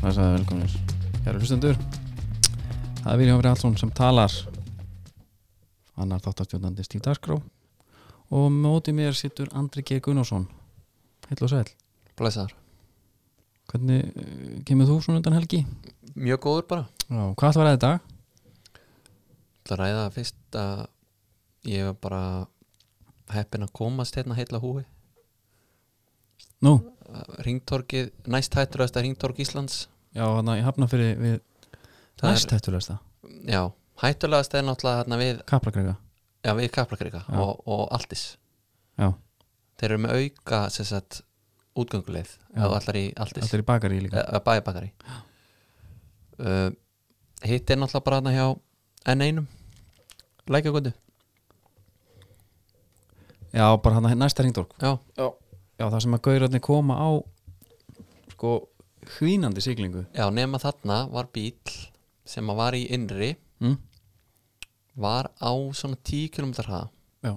Blessaði velkominir Kæru hlustendur Það er Viljáfri Hallsson sem talar Annar þáttastjóðandi Stíf Darskró Og móti mér sittur Andri G. Gunnarsson Heill og sæll Blæsaður Hvernig eh, kemur þú svona undan helgi? Mjög góður bara Já, hvað ætlar að ræða í dag? Það ræða fyrst að ég var bara heppin að komast hérna heila húi Nú, Ringtorkið, næst hættulegasta ringtork Íslands já, þannig að ég hafna fyrir við Það Næst hættulegasta, er, Já, hættulegasta er náttúrulega hérna við, Kaplakrega já, við Kaplakrika Já. og, og Altis Já, Þeir eru með auka sem sagt útgönguleið Já. eða allar í Altis þetta er í bakari líka eða bæjabakari uh, Hitt er náttúrulega bara hérna hjá N1 Lækjagöndu Já, bara hann að næsta hringdorg Já, Já, það sem að gaurarnir koma á Sko, hvínandi siglingu já, nema þarna var bíll sem að var í innri mm? var á svona 10 km hraða Já.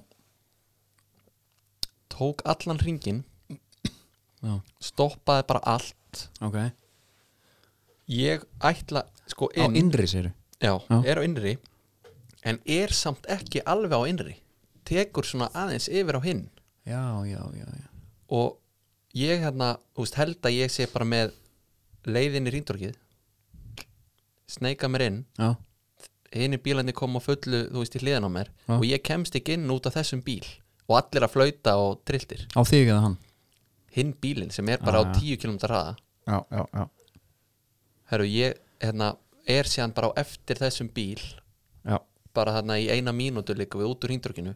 tók allan ringin Já, stoppaði bara allt ok ég ætla sko Á inn, innri séru já, Já. er á innri en er samt ekki alveg á innri tekur svona aðeins yfir á hinn Já, já, já, já. og ég hérna úst, held að ég sé bara með leiðin í ringdorkið sneika mér inn Já, hinn bílandi kom á fullu þú veist í hliðan á mér Já. og ég kemst ekki inn út af þessum bíl og allir að flauta og trilltir Á þig eða hann hinn bílinn sem er bara Ah, á ja. 10 km hraða Já, já, já, herru ég hérna, er síðan bara á eftir þessum bíl já. bara þarna í eina mínútu líka við út úr hindrukinu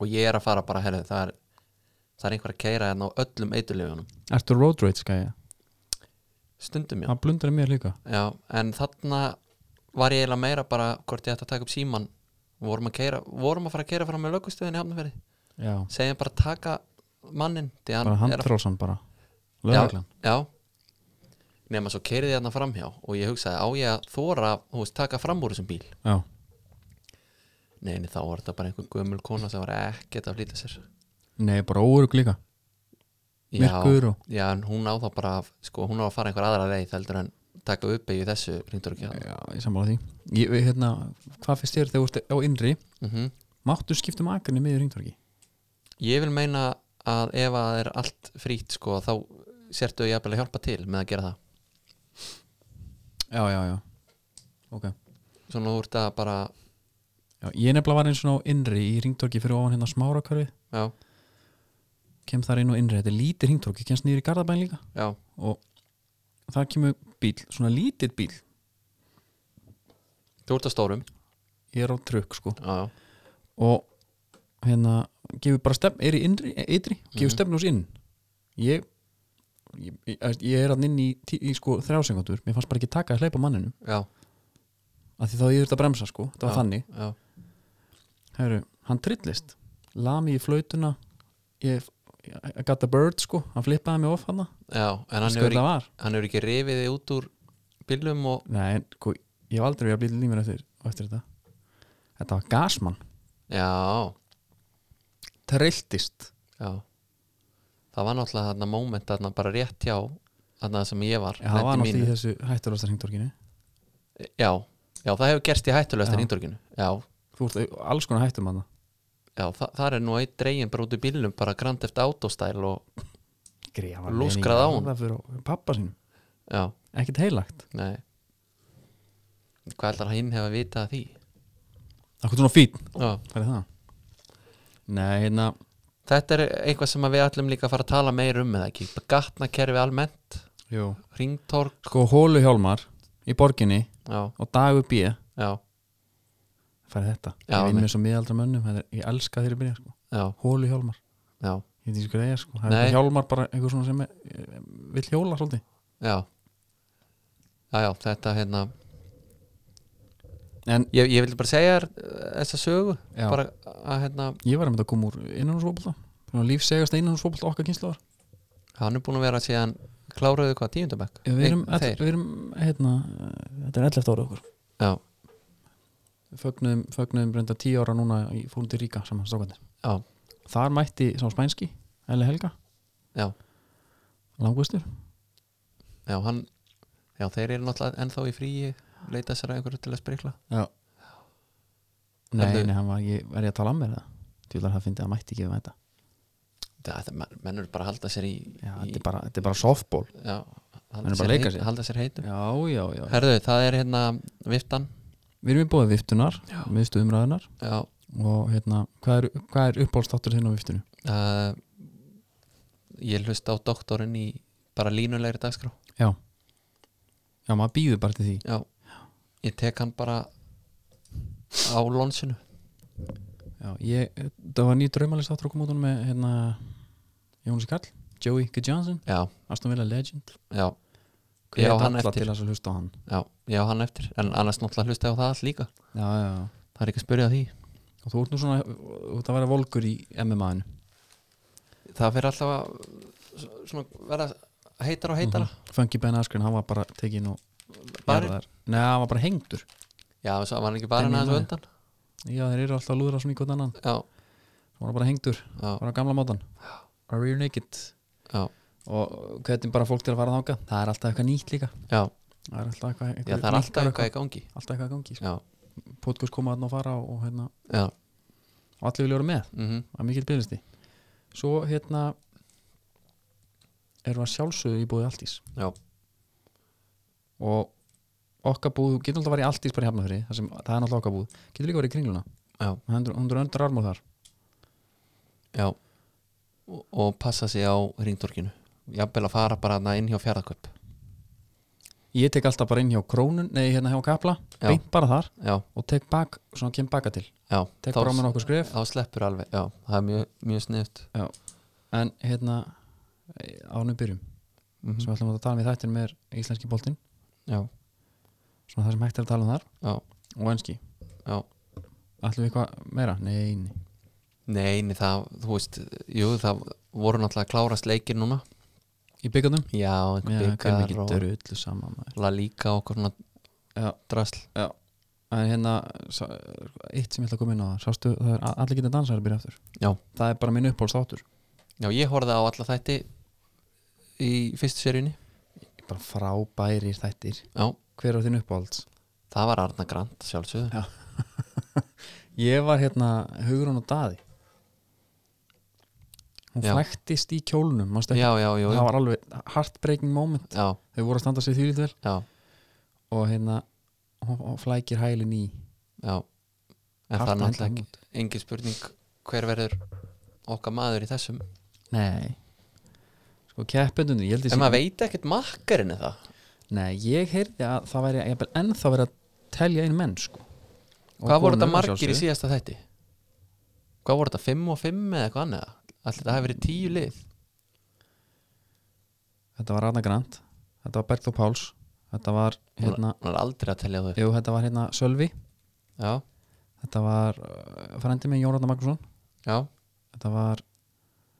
og ég er að fara bara herru það er, það er einhver að keira hérna á öllum eitulegunum Ertu road rage gæja? stundum já. Það blundar í mér líka já en þarna var ég eiginlega meira bara hvort ég ætti að taka upp síman vorum að keira, vorum að fara að keira fram með lögustöðin í hafnaferði, Já, segjum bara að taka mannin, því hann bara er að handfrálsan bara já, Lögreglan já nema svo keiriði hérna framhjá og ég hugsaði á ég að þóra þú veist, taka fram úr þessum bíl Já, neini þá var þetta bara einhver gömul kona sem var ekkert að flýta sér nei, bara óurug líka já, Myrkur og- já en hún á þá bara að- sko, hún á að fara einhver aðra leið heldur en taka upp í þessu hringdur ekki Já, ég sammála því ég, við, hérna, Hvað finnst þér þegar þú ert á innri Máttu skipta um akrinni miður hringtorki? Mhm. ég vil meina að ef að það er allt frýtt sko þá sértu ég að hjálpa til með að gera það Já, já, já Ok já, svona þú ert að bara Ég nefnilega var eins og á innri í hringtorki fyrir ofan hérna smárakörfi já, Kem þar inn og innri, þetta er lítið hringtorki Kemst nýri í Garðabæn líka já, Og það kemur bíl, svona lítið bíl þú ert að stórum Ég er á trukk sko já, já, og hérna gefur bara stefn, er í innri, ytri gefur Mhm. mm. stefn inn ég, ég, ég, ég er hann inn í, tí- í sko, þrjásengundur, mér fannst bara ekki taka að hleypa manninu, já, af því þá ég þurfti að bremsa sko, það var þannig, já, hefur hann trillist, lami í flautuna ég, ég got the bird sko, hann flippaði mig of hana já en hann hefur skurða var, hann hefur ekki rifið þig út úr bílum og nei, en, sko, ég hef aldrei verið að blíða límur eftir, á eftir þetta þetta var gasmann, já, trilltist já það var náttúrulega þarna moment þarna bara rétt hjá þarna sem ég var það var lendi náttúrulega í mínu. þessu hættulastar hringdorkinu já, já, það hefur gerst í hættulegsta Já. hindorginu já, þú ert alls konar hættum hana já það, það er nú einn dregin bara út úr bílum bara grand eftir autostæl og grefa Lúskrað á hún. fyrir pappa sínum, já, ekkert heilagt nei hvað ætlar hinn hefur vitað af því akkur svona fín, já. hvað er það nei, hérna, þetta er eitthvað sem að við ætlum líka að fara að tala meir um eða ekki, gatnakerfi almennt jú ringtorg, sko hólu hjálmar í borginni já, og dagur B já, færi þetta, Já, ég vinn nei. með svo miðaldra mönnum þetta er- ég elska þeirri byrja, sko, já, hólu hjálmar já ég veit ekki hvað það er, sko, það Nei. er hjálmar bara einhver svona sem er, eh, vill hjóla svolítið Já Já, já, þetta hérna en Ég, ég vildi bara segja þér eh, þessa sögu Já. bara að hérna ég var einmitt að koma úr innanhúsfóbolta lífsegasta innanhúsfóbolta okkar kynsluðar hann er búin að vera síðan kláruðu hvað tíundabæk við erum, Nei, ell- þeir, við erum hérna, eh, þetta er 11 ára okkur já, fögnuðum, fögnuðum reynda tíu ára núna í fórum til Ríka saman strákandi já, þar mætti sá spænski, Eli Helga já, langvistur, já hann Já, þeir eru náttúrulega ennþá í fríi leita sér að einhverju til að sprikla Já Nei, Heldur- nei, hann var ekki, var ég að tala um mér það Tjúlar það fyndi að hann mætti ekki við þetta Það, menn, menn eru bara að halda sér í, Já, í þetta er bara, þetta er bara softball já, Menn eru bara halda, að sér leika heit, sér. halda sér heitum Já, já, já Herðu, það er hérna viftan Við erum í bóðið viftunar, Já. miðstuðumræðunar Já, og hérna, hvað er, hvað er uppbólstáttur þinn á viftinu? uh, ég hlusta á doktorinn í bara línulegri dagskrá Já Já, maður býður bara til því Já, ég tek hann bara á lonsinu Já, ég, það var nýjur draumalist áttur að koma út honum með hérna, Jónus Karl, Joey K. Johnson Já, Aston Villa Legend já, Hvet Já, hann alla eftir. til þess að hlusta á hann já, já, hann eftir En annars náttúrulega hlusta ég á það allt líka Já, já, já Það er ekki að spyrja að því Og þú ert nú svona, þú ert að vera volgur í MMA-inu það fyrir alltaf að s- svona, vera heitar og heitara Funky Ben Askren, hann var bara tekin og Barinn? jarðaður. Nei, hann var bara hengdur já, þess að var hann ekki bara Benny aðeins á Maher. undan Já, þeir eru alltaf að lúðra svona í hvort annan já, Hann var bara hengdur, já, bara á gamla mátan Bara rear naked já, Og hvernig bara fólk til að fara þangað Það er alltaf eitthvað nýtt líka já, Það er alltaf eitthvað, já það er alltaf eitthvað í gangi Alltaf eitthvað að gangi sko. já, Podcast koma þarna og fara og, og, hérna, já, og allir vilja vera með mm Það er mikill byrðisti Svo hérna erum við að sjálfsögðu í búið Altís já, og okkar búð, getur alltaf að vera í Altís bara í Hafnafri, það, sem, það er alltaf okkar búð getur líka að vera í kringluna, já, hún er undur öndur armóð þar já og, og passa sig á ringdorkinu jafnvel að fara bara þarna inn hjá fjaraðköp ég tek alltaf bara inn hjá krónun, nei hérna hjá kapla Já. beint bara þar já, og tek bak, svona kem baka til já, tek þá- bara á mér nokkur skref þá sleppur alveg, já, það er mjög, mjög sniðut en hérna ánum byrjum, mm sem við ætlum að tala um í þættinum er íslenski boltinn, já, svona það sem hægt er að tala um þar já, og enski, já ætlum við eitthvað meira? Nei, nei, Nei, nei, það, þú veist, jú, það voru náttúrulega að klárast leikir núna í byggandum Já, Já, einhver hvernig byggar og getur öllu saman maður. La Liga og okkur svona Já. drasl en hérna sá- eitt sem ég ætla að koma inn á það, sástu, það er allir geta dansar að byrja aftur Já. það er bara minn uppáhaldstáttur Já, ég horfði á alla þætti í fyrstu seríunni bara frábærir þættir Já, hver var þinn uppáhalds? það var Arna Grant sjálfsögðu Já. ég var hérna Hugrún og Daði hún Já. flæktist í kjólnum manstu Já, ekki? já, já, já, það var alveg heartbreaking moment já, þau voru að standa sig því vel já, og hérna hún, hún flækir hælin í já. Hart En það að er henda náttúrulega honum ekki engin spurning hver verður okkar maður í þessum nei sko keppendunni ég held ég En sé- maður veit ekkert makkarinn eða Nei, ég heyrði að það væri jafnvel ennþá verið að telja einu menn sko. Og Hvað voru konur, þetta að margir í sjálfsögðu. síðasta þætti? Hvað voru þetta, 5 og 5 eða eitthvað annað? Allir þetta hafi verið 10 lið Þetta var Ragnar Grant, þetta var Bergþór Páls Þetta var hérna, Hún er aldrei að telja þau jú, þetta var hérna Sölvi Já, Þetta var uh, frendi minn Jón Ragnar Magnússon já, Þetta var,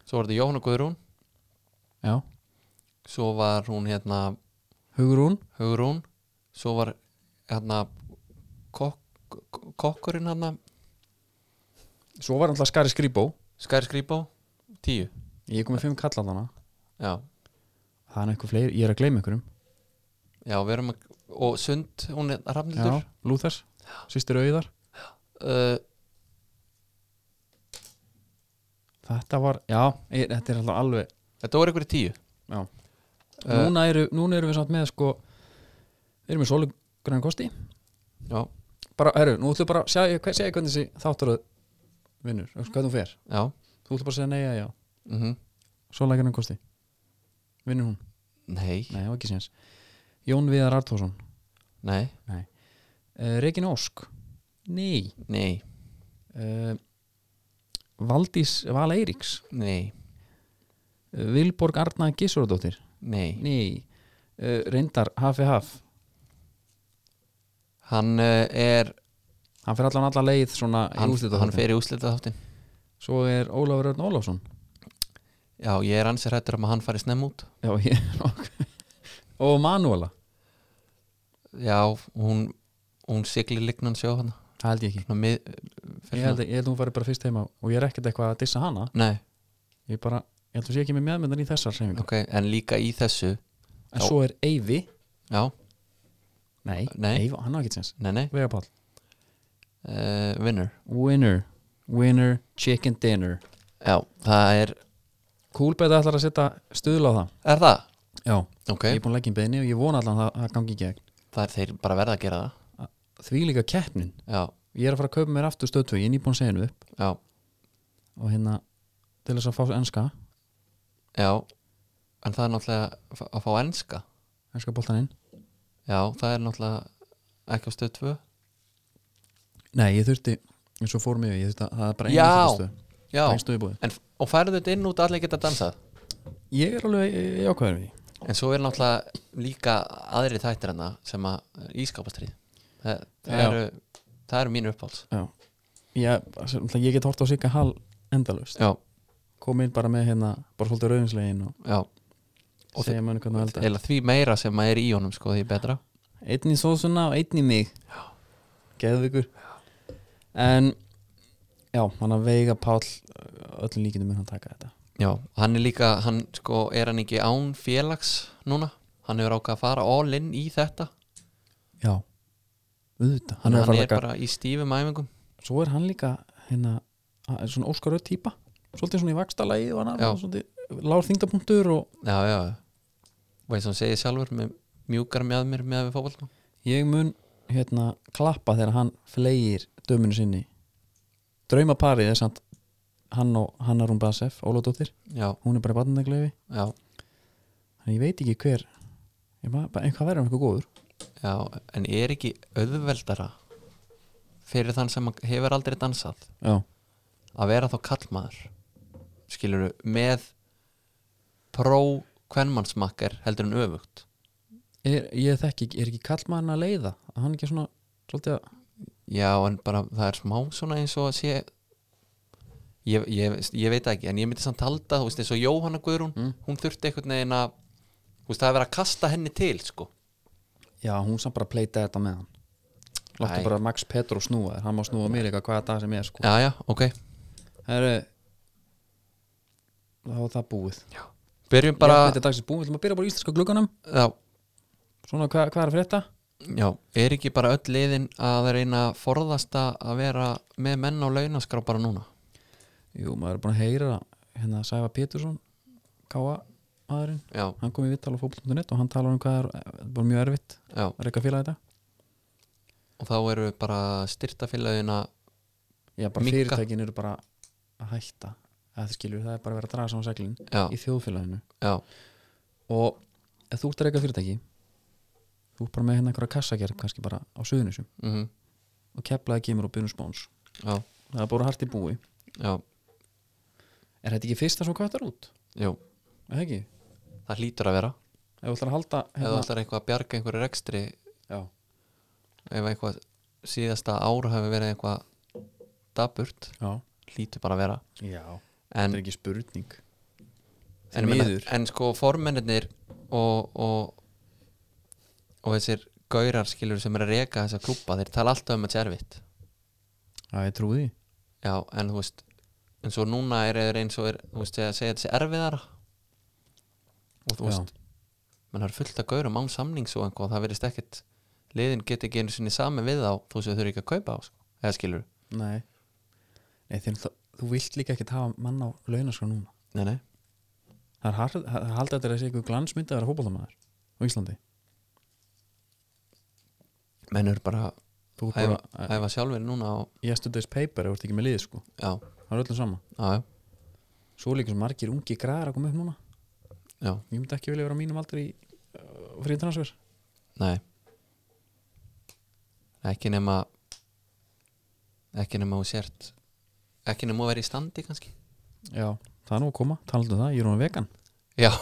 svo voru þetta Jóhanna Guðrún já, Svo var hún hérna Hugrún Hugrún svo var hérna kok, kok- kokkurinn hérna Svo var alltaf Skari Skrýbó Skær Skrýbó, tíu Ég kom með fimm kallandana já, Það er eitthvað fleiri, ég er að gleyma einhverjum já, við erum að og Sund, hún er Já, rafnildur Lúthers, sýstir auðar uh, Þetta var, já, ég, þetta er alltaf alveg þetta voru einhverju tíu Já. Eh. núna, eru, núna eru við samt með sko Við erum við sólugræn kosti já, bara, herru, nú ætlum við bara að segja, hver- segja hvernig þessi þáttaröð vinnur, þú veist, hvernig hún fer já þú ætlum bara að segja nei að já, mm svo lækir hann kosti vinnur hún, nei, nei, það var ekki séns Jón Viðar Artórsson, nei, uh, Regin Ósk nei nei, uh, Valdís Val Eiríks, nei uh, Vilborg Arna Gissurdóttir, nei, nei uh, Reyndar Hafi Haf hann uh, er hann fer allan alla leið svona hann, í útlita hann fer í úslita þáttin svo er Ólafur Örn Ólafsson já, ég er ansið hættur um að hann fari snemm út já, ég, ok. og Manuela, já, hún hún siglir lignan sjó hann það held ég ekki svona mið ég held, ég held að hún fari bara fyrst heima og ég er ekkert eitthvað að dissa hana nei ég, bara, ég held að sé ekki með meðmyndan í þessar sefingar Ok, en líka í þessu en svo er Eyvi Já, Nei, Nei. hann á ekki sens Nei, nei, Vegapall uh, vinnur Winner, winner, chicken dinner Já, það er Kúlbetta ætlar að setja stuðla á það Er það? Já, Ok, ég er búin að leggja í beðinni og ég vona allan að það- það gangi í gegn það er þeir bara verða að gera það Því líka keppnin Já, Ég er að fara að kaupa mér aftur stöðtöð, ég er nýbúin að segja hennu upp já, og hérna til þess að fá enska, já En það er náttúrulega að fá enska enska boltaninn Já, það er náttúrulega ekki á stöð 2 Nei, ég þurfti, eins og fór mig ég þurfti að það er bara Já. einhverjum Já, stöð búið en, og færðu þetta inn út að allir geta dansað Ég er alveg eh, jákvæður við því. En svo er náttúrulega líka aðri þættir hana sem að ískapastrið Það, það, Já. eru, það eru mínu uppáls Já, ég, sem- náttúrulega ég get hort á sig að hal endalust Já, kom inn bara með hérna, bara svolítið rauðinslegin og já, Og og segja mönni hvernig að elda eða því meira sem maður er í honum sko því betra einn í sósuna og einn í mig geðu ykkur en já, hann að veiga Páll uh, öllum líkindum með hann taka þetta Já, hann er líka, hann sko er hann ekki án félags núna hann hefur ákvað að fara all in í þetta já, auðvitað hann hann, er að fara er að taka, bara í stífum æfingum svo er hann líka hérna, að- er svona óskaröð típa svolítið svona í vakstalagi og hann Já. er svolítið lár þingdapunktur og Já, já, já og eins og hann segir sjálfur með mjúkar með mér með við fótbolta ég mun hérna klappa þegar hann fleir dömunu sinni draumaparið er samt hann og Hanna Rúmbasef, Ólafdóttir Já, hún er bara barnendagleifi já, en ég veit ekki hver ég maður, bara einhvað verður hann eitthvað góður já en er ekki auðveldara fyrir þann sem hefur aldrei dansað já, að vera þá kallmaður skilur með pró kvenmannsmakkar heldur en öfugt er, ég þekki, ekki- er ekki kallmann að leiða að hann ekki svona, svolítið að Já, en bara það er smá svona eins og að sé ég, ég, ég veit það ekki, en ég myndi samt halda þú veist eins og Jóhanna Guðrún, Mm. hún þurfti einhvern veginn að þú veist það er verið að kasta henni til sko, já, hún samt bara pleita þetta með hann Æ. láttu bara Max Petro snúa þér hann má snúa mér eitthvað hvaða dag sem ég er sko já já, ok Heru, þá er það búið byrjum bara, bara, ég, þetta dagsins búið, við ætlum að byrja bara í íslenska glugganum já, svona hvað hva er að frétta já er ekki bara öll liðin að reyna að forðast að- að vera með menn á launaskrá bara núna Jú, maður er búin að heyra hérna Sæfa Pétursson K.A. maðurinn, já, hann kom í vittal á fótboll.net og hann talar um hvað er, þetta er bara mjög erfitt já, að reyka félag þetta og þá eru bara styrtafélagina Já, bara Minnka. fyrirtækin eru bara að hætta eða það skilur, það er bara að vera að draga saman seglin já, í þjóðfélaginu já, og ef þú ert að reyka fyrirtæki þú ert bara með hérna einhverja kassagerð kannski bara á suðunisum mm og keplaði kemur og byrjum spóns já, það er bara hart í búi já, Er þetta ekki fyrsta svo kvættar út? já Er það ekki? það hlýtur að vera Ef þú ætlar að halda ef hérna, þú ætlar eitthvað að bjarga einhverju rekstri Já, ef eitthvað síðasta ár hafi verið eitthvað daburt, já, hlýtur bara að vera já en, Þetta er ekki spurning en, ég meina- miður. en sko formennir og, og og þessir gaurar skilur sem er að reka þessa klúpa, þeir tala alltaf um að tjærfitt Já, ég trúi því já, en þú veist en svo núna er þeir eins og er, þú veist, að segja þessi erfiðara og þú Já. veist menn það er fullt að gaurum án samnings og einhvað, það verðist ekkit liðin get ekki einu sinni sami við þá þú veist þau þurfi ekki að kaupa á sko. eða skilur, Nei, Nei þeim, þú vilt líka ekkert hafa mann á launaskrá núna nei nei Það er hard- það er haldið að þetta er eitthvað glansmynd að vera fótbollamæður á Íslandi menn eru bara að Þú ert æfa, bara að- æfa sjálfur núna og, yesterday's paper ef þú ert ekki með liðið sko já, Það er öllum sama já, já, Svo líka sem margir ungi græðar að koma upp núna já, Ég myndi ekki vilja vera á mínum aldrei í uh, fríð transfer nei ekki nema ekki nema þú sért ekki nema þú verið í standi kannski Já, það er nú að koma, talaðu það, ég er hún vegan já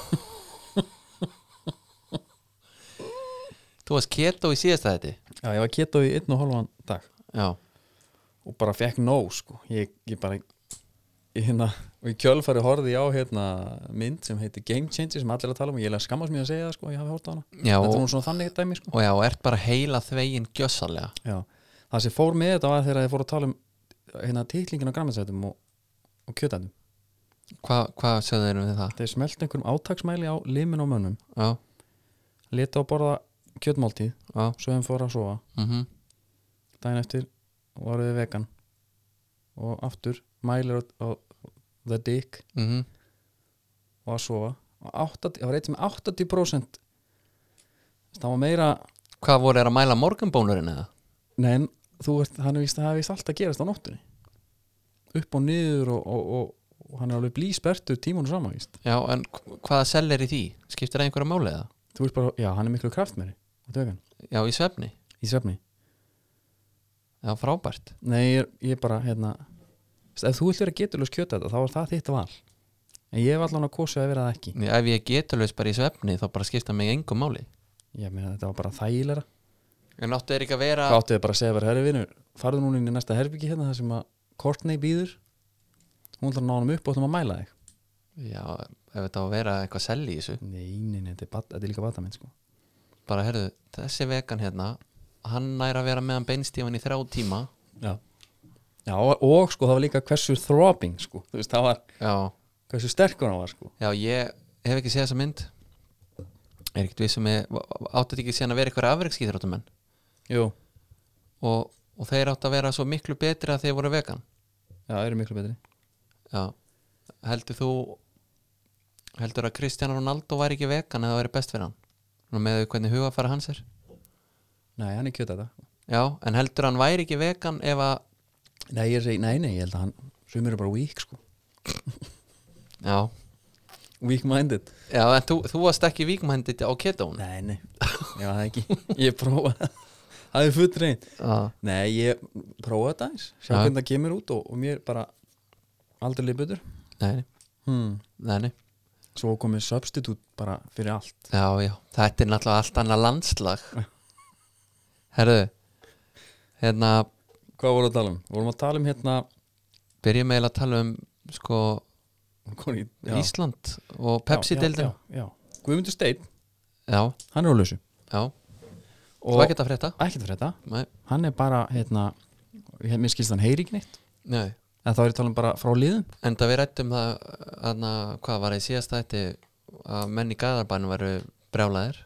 þú varst keto í síðasta þetta Já, ég var keto í einn og hálfan dag já, og bara fekk nóg sko ég, ég bara ég, hérna, og í kjölfari horfði ég á hérna, mynd sem heitir Game Changer sem allir er að tala um og ég er að skammast mér að segja það sko ég hafi hórt á hana já þetta er og, nú svona þannig dæmi sko og já, og ert bara heila þvegin gjössalega já. það sem fór með þetta var þegar ég fór að tala um hérna titlingin á grammansætum og, og kjötætum hvað hva sögðu þeir um það? þeir smelt einhverjum átaksmæli á limin og mönnum já, leta á borða kjötmáltíð Já, sögum fór að sofa mhm, daginn eftir voru við vegan og aftur mælir á, á the dick mhm og að sofa og 80, það var eitt sem 80% það var meira Hvað voru þeir að mæla morgunbónurinn eða? nei, en þú veist, hann er víst það hafi víst allt að gerast á nóttunni upp og niður og, og, og, og hann er alveg blíspertur tímunum saman víst. Já, en hv- hvaða sell er í því? Skiptir það einhverja máli eða? þú veist bara, já, hann er miklu kraftmeri og dögan, Já, í svefni, í svefni já, frábært Nei, ég, er- ég bara, hérna veist, ef þú vilt vera geturlega skjöta þetta, þá er það þitt val en ég hef allan að kosa að vera það ekki Ef ég getur laus bara í svefni þá bara skipta mig engum máli ég meina þetta var bara þægilega En áttu er ekki að vera Hvað áttu þið bara að segja bara, herri vinur, farðu núna inn í næsta herbyggi hérna þar sem að Courtney býður hún ætlar að ná hann upp og ætlum að mæla þig Já, ef þetta á að vera eitthvað sell í þessu Nei, nei, nei, þetta er, bat, þetta er líka batamenn sko Bara, herðu, þessi vegan hérna Hann nær að vera meðan beinstífan í þrjá tíma Já Já, og sko, það var líka hversu throbbing sko þú veist, það var Já, hversu sterkur hann var sko já, ég hef ekki séð þessa mynd Er ekkert við sem er Áttu þetta ekki séðan að vera eitthvað afreikskýþróttumenn Jú, og, og þeir áttu að vera svo miklu betri að þeir voru vegan já, það eru miklu betri Já, heldur þú heldur að Kristján Ronaldo væri ekki vegan eða væri best fyrir hann Nú með hvernig hugafæra hans er Nei, hann er kjöta þetta Já, en heldur hann væri ekki vegan ef að Nei, ég segi, nei, nei, ég held að hann sumir eru bara weak sko Já, Weak minded já en þú, þú varst ekki víkmændið á ketón Nei, nei, ég var það ekki Ég prófa Það er fullt reynd Já, Nei, ég prófaði þetta eins Sjá Já. hvernig það kemur út og, og mér bara aldrei leið betur nei, hmm. nei, nei Svo komið substitute bara fyrir allt Já, já, þetta er náttúrulega allt annað landslag Herðu Hérna, Hvað vorum við að tala um? Vorum við að tala um hérna byrjum eiginlega að tala um sko Hvor í- já. Ísland og Já, Pepsi-deildin já, já, já. Guðmundur Steinn, Já, hann er á lausu já, þú og ekkert að frétta ekkert fyrir þetta Nei, Hann er bara, hérna ég- Mér skilst hann heyri ekki neitt nei En þá er ég að tala um bara frá liðum Enda við rættum það aðna, hvað var í síðasta þetta að menn í Gaðarbænum veru brjálaðir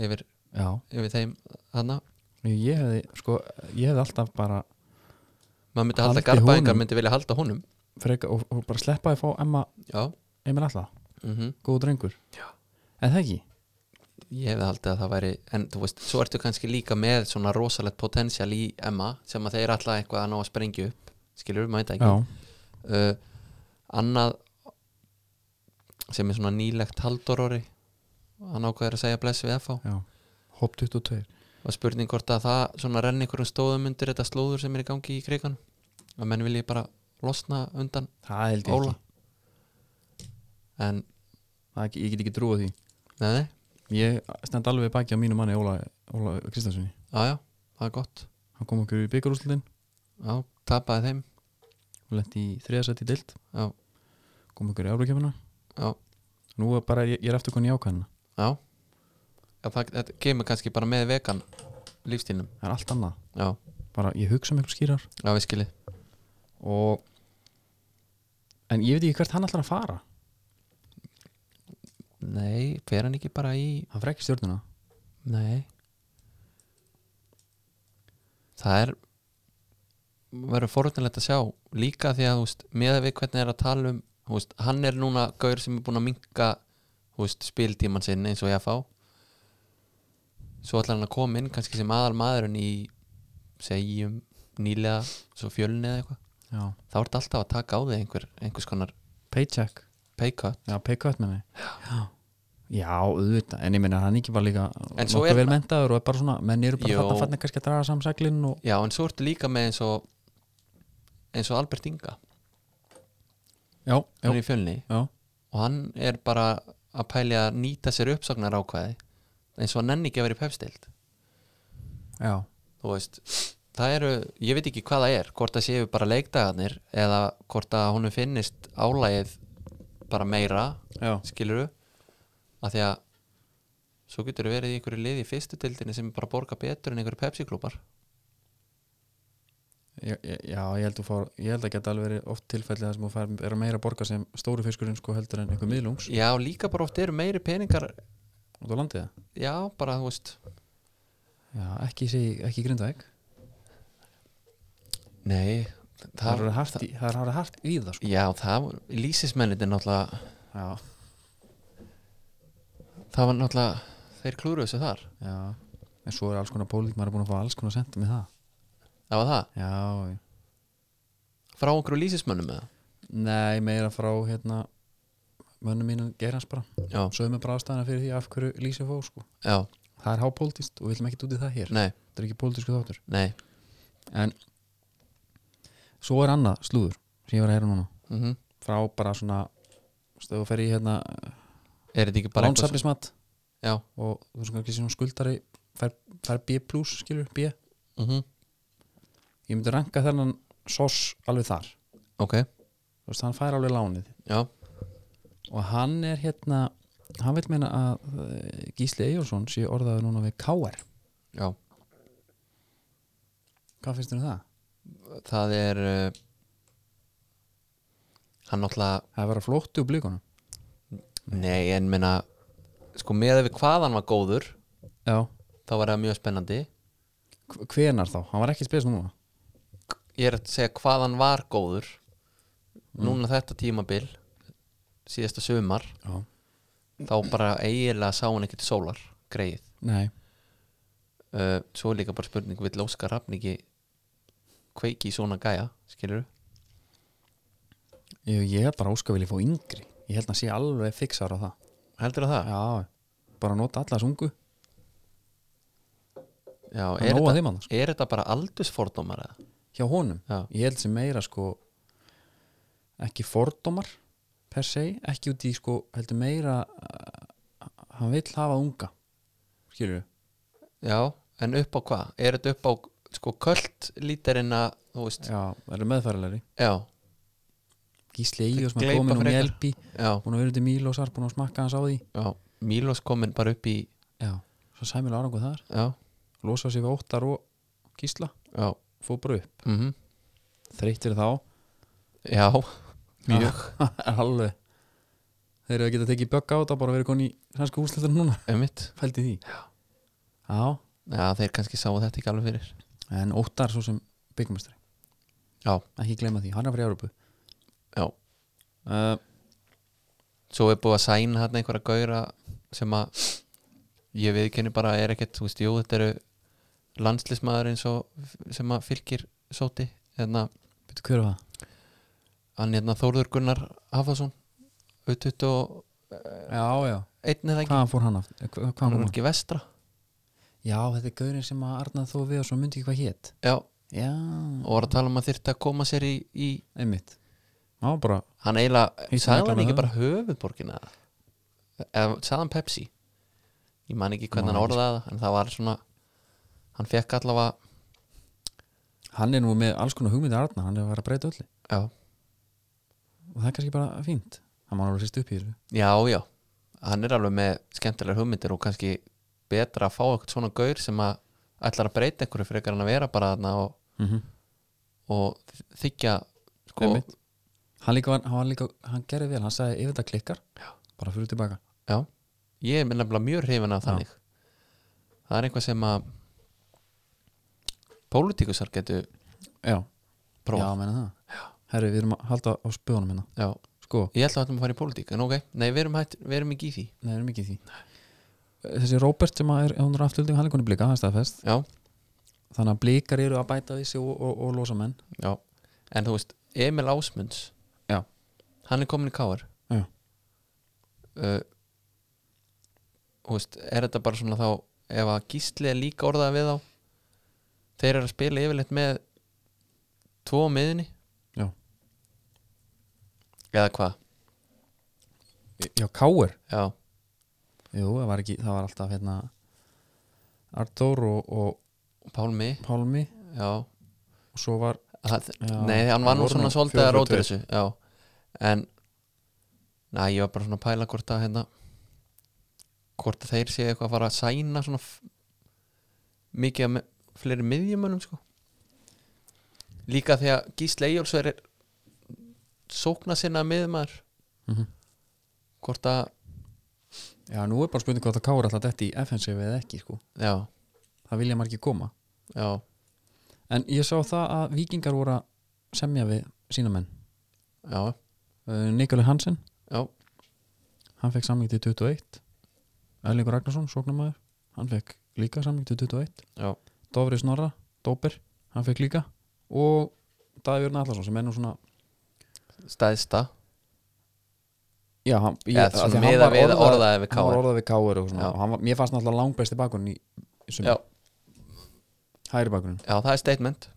yfir, Já, yfir þeim aðna ég hefði, sko, ég hefði alltaf bara maður myndi halda Haldi Garðbæingar honum. myndi vilja halda honum freka, og, og bara sleppa að fá Emma já, Emil Alla, mm góð drengur Já. En það ekki? ég hefði haldið að það væri en þú veist, svo ertu kannski líka með svona rosalegt potensial í Emma sem að þeir alltaf eitthvað að ná að sprengja upp skilur, maður veit það ekki Já, uh, annað sem er svona nýlegt haldoróri hann ákveður að segja bless við FH já Hopp 22 og spurning hvort að það svona renni einhverjum stóðum undir þetta slóður sem er í gangi í krigan að menn vilji bara losna undan Það held Óla en Það ekki, ég get ekki trúið því neði, Ég stend alveg baki á mínu manni Óla, Óla Kristjánssoni aðja, það er gott Hann kom okkur í byggarúslutin já, tapaði þeim og lendi í þriðasætt í deild já, kom okkur í Eurókjöfuna já, Nú er bara, ég, ég er aftur konni í ákvæðina já, já það, þetta kemur kannski bara með vegan lífstínum, Það er allt annað já, Bara ég hugsa um eitthvað skýrar já við skilji og En ég veit ekki hvert hann ætlar að fara nei, fer hann ekki bara í Hann frekki stjórnuna nei það er verður forutnilegt að sjá líka því að þú veist, með við hvernig er að tala um þú veist, hann er núna gaur sem er búin að minka veist, spiltíman sinn eins og ég að fá svo ætlar hann að koma inn kannski sem aðal maðurinn í segjum nýlega svo fjölni eða eitthvað Já þá ertu alltaf að taka á þig einhver, einhvers konar Paycheck pay cut Já, pay-cut með mig Já, já auðvitað, en ég meina hann ekki var líka En svo nokkuð er- vel mentaður og er bara svona menn eru bara Jó. þarna fannig kannski að draga samsæklinn og já en svo ertu líka með eins og eins og Albert Inga Já, já, hann er í fjölni já, og hann er bara að pæli að nýta sér uppsagnar ákvæði eins og hann enn ekki að vera í pepstild já þú veist, það eru ég veit ekki hvað það er, hvort það séu bara leikdagarnir eða hvort að honum finnist álægið bara meira Já, skiluru að því að svo getur þú verið í einhverju liði í fyrstu tildinni sem er bara að borga betur en einhverju pepsiklúpar já, já ég, held fór, ég held að geta alveg verið oft tilfelli þar sem þú fær vera meira að borga sem stóru fiskurinn sko heldur en einhver miðlungs já, líka bara oft eru meiri peningar og þú landið það já, bara þú veist Já, ekki, seg, ekki Grindavík Nei, Það það, eru hart, í- það eru hart í það sko. Já, það voru- lýsismennirnir náttúrulega Já, það var náttúrulega þeir klúruðu þessu þar já En svo er alls konar pólit, maður er búin að fá alls konar senda með það það var það, Já, frá okkur lýsismönnum eða nei, meira frá hérna mönnum mínum gerans bara já, Sögum við bráðstæðina fyrir því af hverju lýsir fó sko. já, Það er hápólitíst og við viljum ekki út í það hér nei, Það er ekki pólitísku þáttur nei En svo er annað slúður sem ég var að heyra núna mm frá bara svona stöðu fer í hérna er þetta ekki bara eitthvað sem- lánsaflismat já, og þú veist kannski svona skuldari fær, fær B plus skilur B ég mm myndi ranka þennan SOS alveg þar ok þú veist hann fær alveg lánið já, og hann er hérna hann vil meina að eh, Gísli Eyjólfsson sé orðaður núna við KR já, hvað finnst þér um það? það er uh, hann náttúrulega Það er að vera flótti úr blíkunum nei, en minna sko með við hvað hann var góður Já, þá var það mjög spennandi H- hvenar þá? Hann var ekki spes núna ég er að segja hvað hann var góður núna þetta tímabil síðasta sumar Já, þá bara eiginlega sá hann ekki til sólar greið nei uh, svo er líka bara spurning vill Óskar Rafn ekki kveiki í svona gæja skilur Ég, ég held bara að Óskar vilja fá yngri Ég held að hann sé alveg fixar á það heldur það? Já, bara nota allas ungu Já, Það er, er nóg að þetta, þeim annars er þetta bara aldursfordómar eða? Hjá honum Já, Ég held sem meira sko ekki fordómar per se, ekki út í sko heldur meira uh, hann vill hafa unga skilur við? já en upp á hvað? Er þetta upp á sko köld lítirinn að þú veist, Já, það eru meðfærilegri já, Gísli Ígjós, maður Gleypa komin úr frekar. Mjölbi já, búin að vera út í Mílósar, búin að smakka hans á því já Mílos komin bara upp í Já, svo sæmil árangu þar já, losa sér við óttar og Gísla já, fór bara upp, mhm þreyttir þá já, mjög alveg þeir eru að geta tekið bögg á þetta bara verið koni í sænsku húsleitar núna ömmitt, fældi því já, já þeir kannski sáu þetta ekki alveg fyrir en óttar svo sem byggumestari Já. ekki glema því, hann er frá Európu já, uh, svo er búið að sæna hann einhverja gauðra sem að ég viðkenni bara er ekkert, þú veist, jú, þetta eru landslismæður eins og sem að fylgir sóti hérna, betur hver var það? hann hérna Þórður Gunnar Hafason U21 já, já, eða ekki, hvaðan fór hann aftur? Hva, hann hvaðan er fór hann? ekki vestra já, þetta er gaurinn sem að Arnað þó við og svo myndi ekki hvað hétt já, já, og var að tala um að þyrfti að koma sér í, í einmitt já, bara, hann eiginlega, Hittu sagði hann mikla ekki með bara höfuborgina eða sagði hann Pepsi ég man ekki hvernig Man hann ekki. orðaði það en það var svona hann fekk allavega hann er nú með alls konar hugmyndi Arnað, hann er að vera að breyta öllu já, og það er kannski bara fínt hann má alveg sýst upp í þessu já, já hann er alveg með skemmtilegar hugmyndir og kannski betra að fá eitthvað svona gaur sem að ætlar að breyta einhverju frekar en að vera bara þarna og, mm og þykja sko, Einmitt. hann líka, var, hann, var líka, hann gerði vel, hann sagði ef þetta klikkar, bara fyrir tilbaka já, ég er nefnilega mjög hrifin af Já. þannig það er eitthvað sem að pólitíkusar getur já, prófað já, meina það herri, við erum að halda á spöðunum hérna já. sko, Ég held að við ætlum að fara í pólitík, en ok Nei, við erum, hætt, við erum ekki í því nei, erum ekki í því þessi Robert sem að er, hún er afturölding hann er konu blika, það er staðfest Já, þannig að blikar eru að bæta við sig og, og, og losa menn já En þú veist, Emil Ásmunds Já. Hann er komin í káar Já. uh, Þú veist, er þetta bara svona þá Ef að gísli er líka orðað við þá Þeir eru að spila yfirleitt með Tvo á miðinni Já. Eða hvað? já, Káir, Já, jú, það var ekki það var alltaf hérna Artur og, og Pálmi Pálmi Já, og svo var, það, Já, Nei, hann var það nú voru svona nú svolítið að fjórir og róta þessu Já, en Næ, ég var bara svona að pæla hvort að hérna Hvort að þeir séu eitthvað að fara að sæna svona f- Mikið að me- fleiri miðjumönnum sko Líka því að Gísli Eyjóls er Sókna sinna miðjumæður Mhm. Hvort að, já, nú er bara spurning hvort að Káir alltaf detti í FNC eða ekki, sko já, það vilja margir koma já, en ég sá það að vikingar voru að semja við sína menn já, uh, Nikolai Hansen, já, hann fekk samling til 21 Erlingur Ragnarsson, sóknarmaður hann fekk líka samling til 21 já, Dofri Snorra, Dóper, hann fekk líka og Davíur Nallarsson sem er nú svona stæðsta já, hann, ég, Eða af því að svona hann meða var við orðaður- orðaði hann við var káar orðað við káur og svona Já. og hann var, mér fannst náttúrulega langbæsti bakurinn í, í sumar, já, hægri bakurinn já, það er statement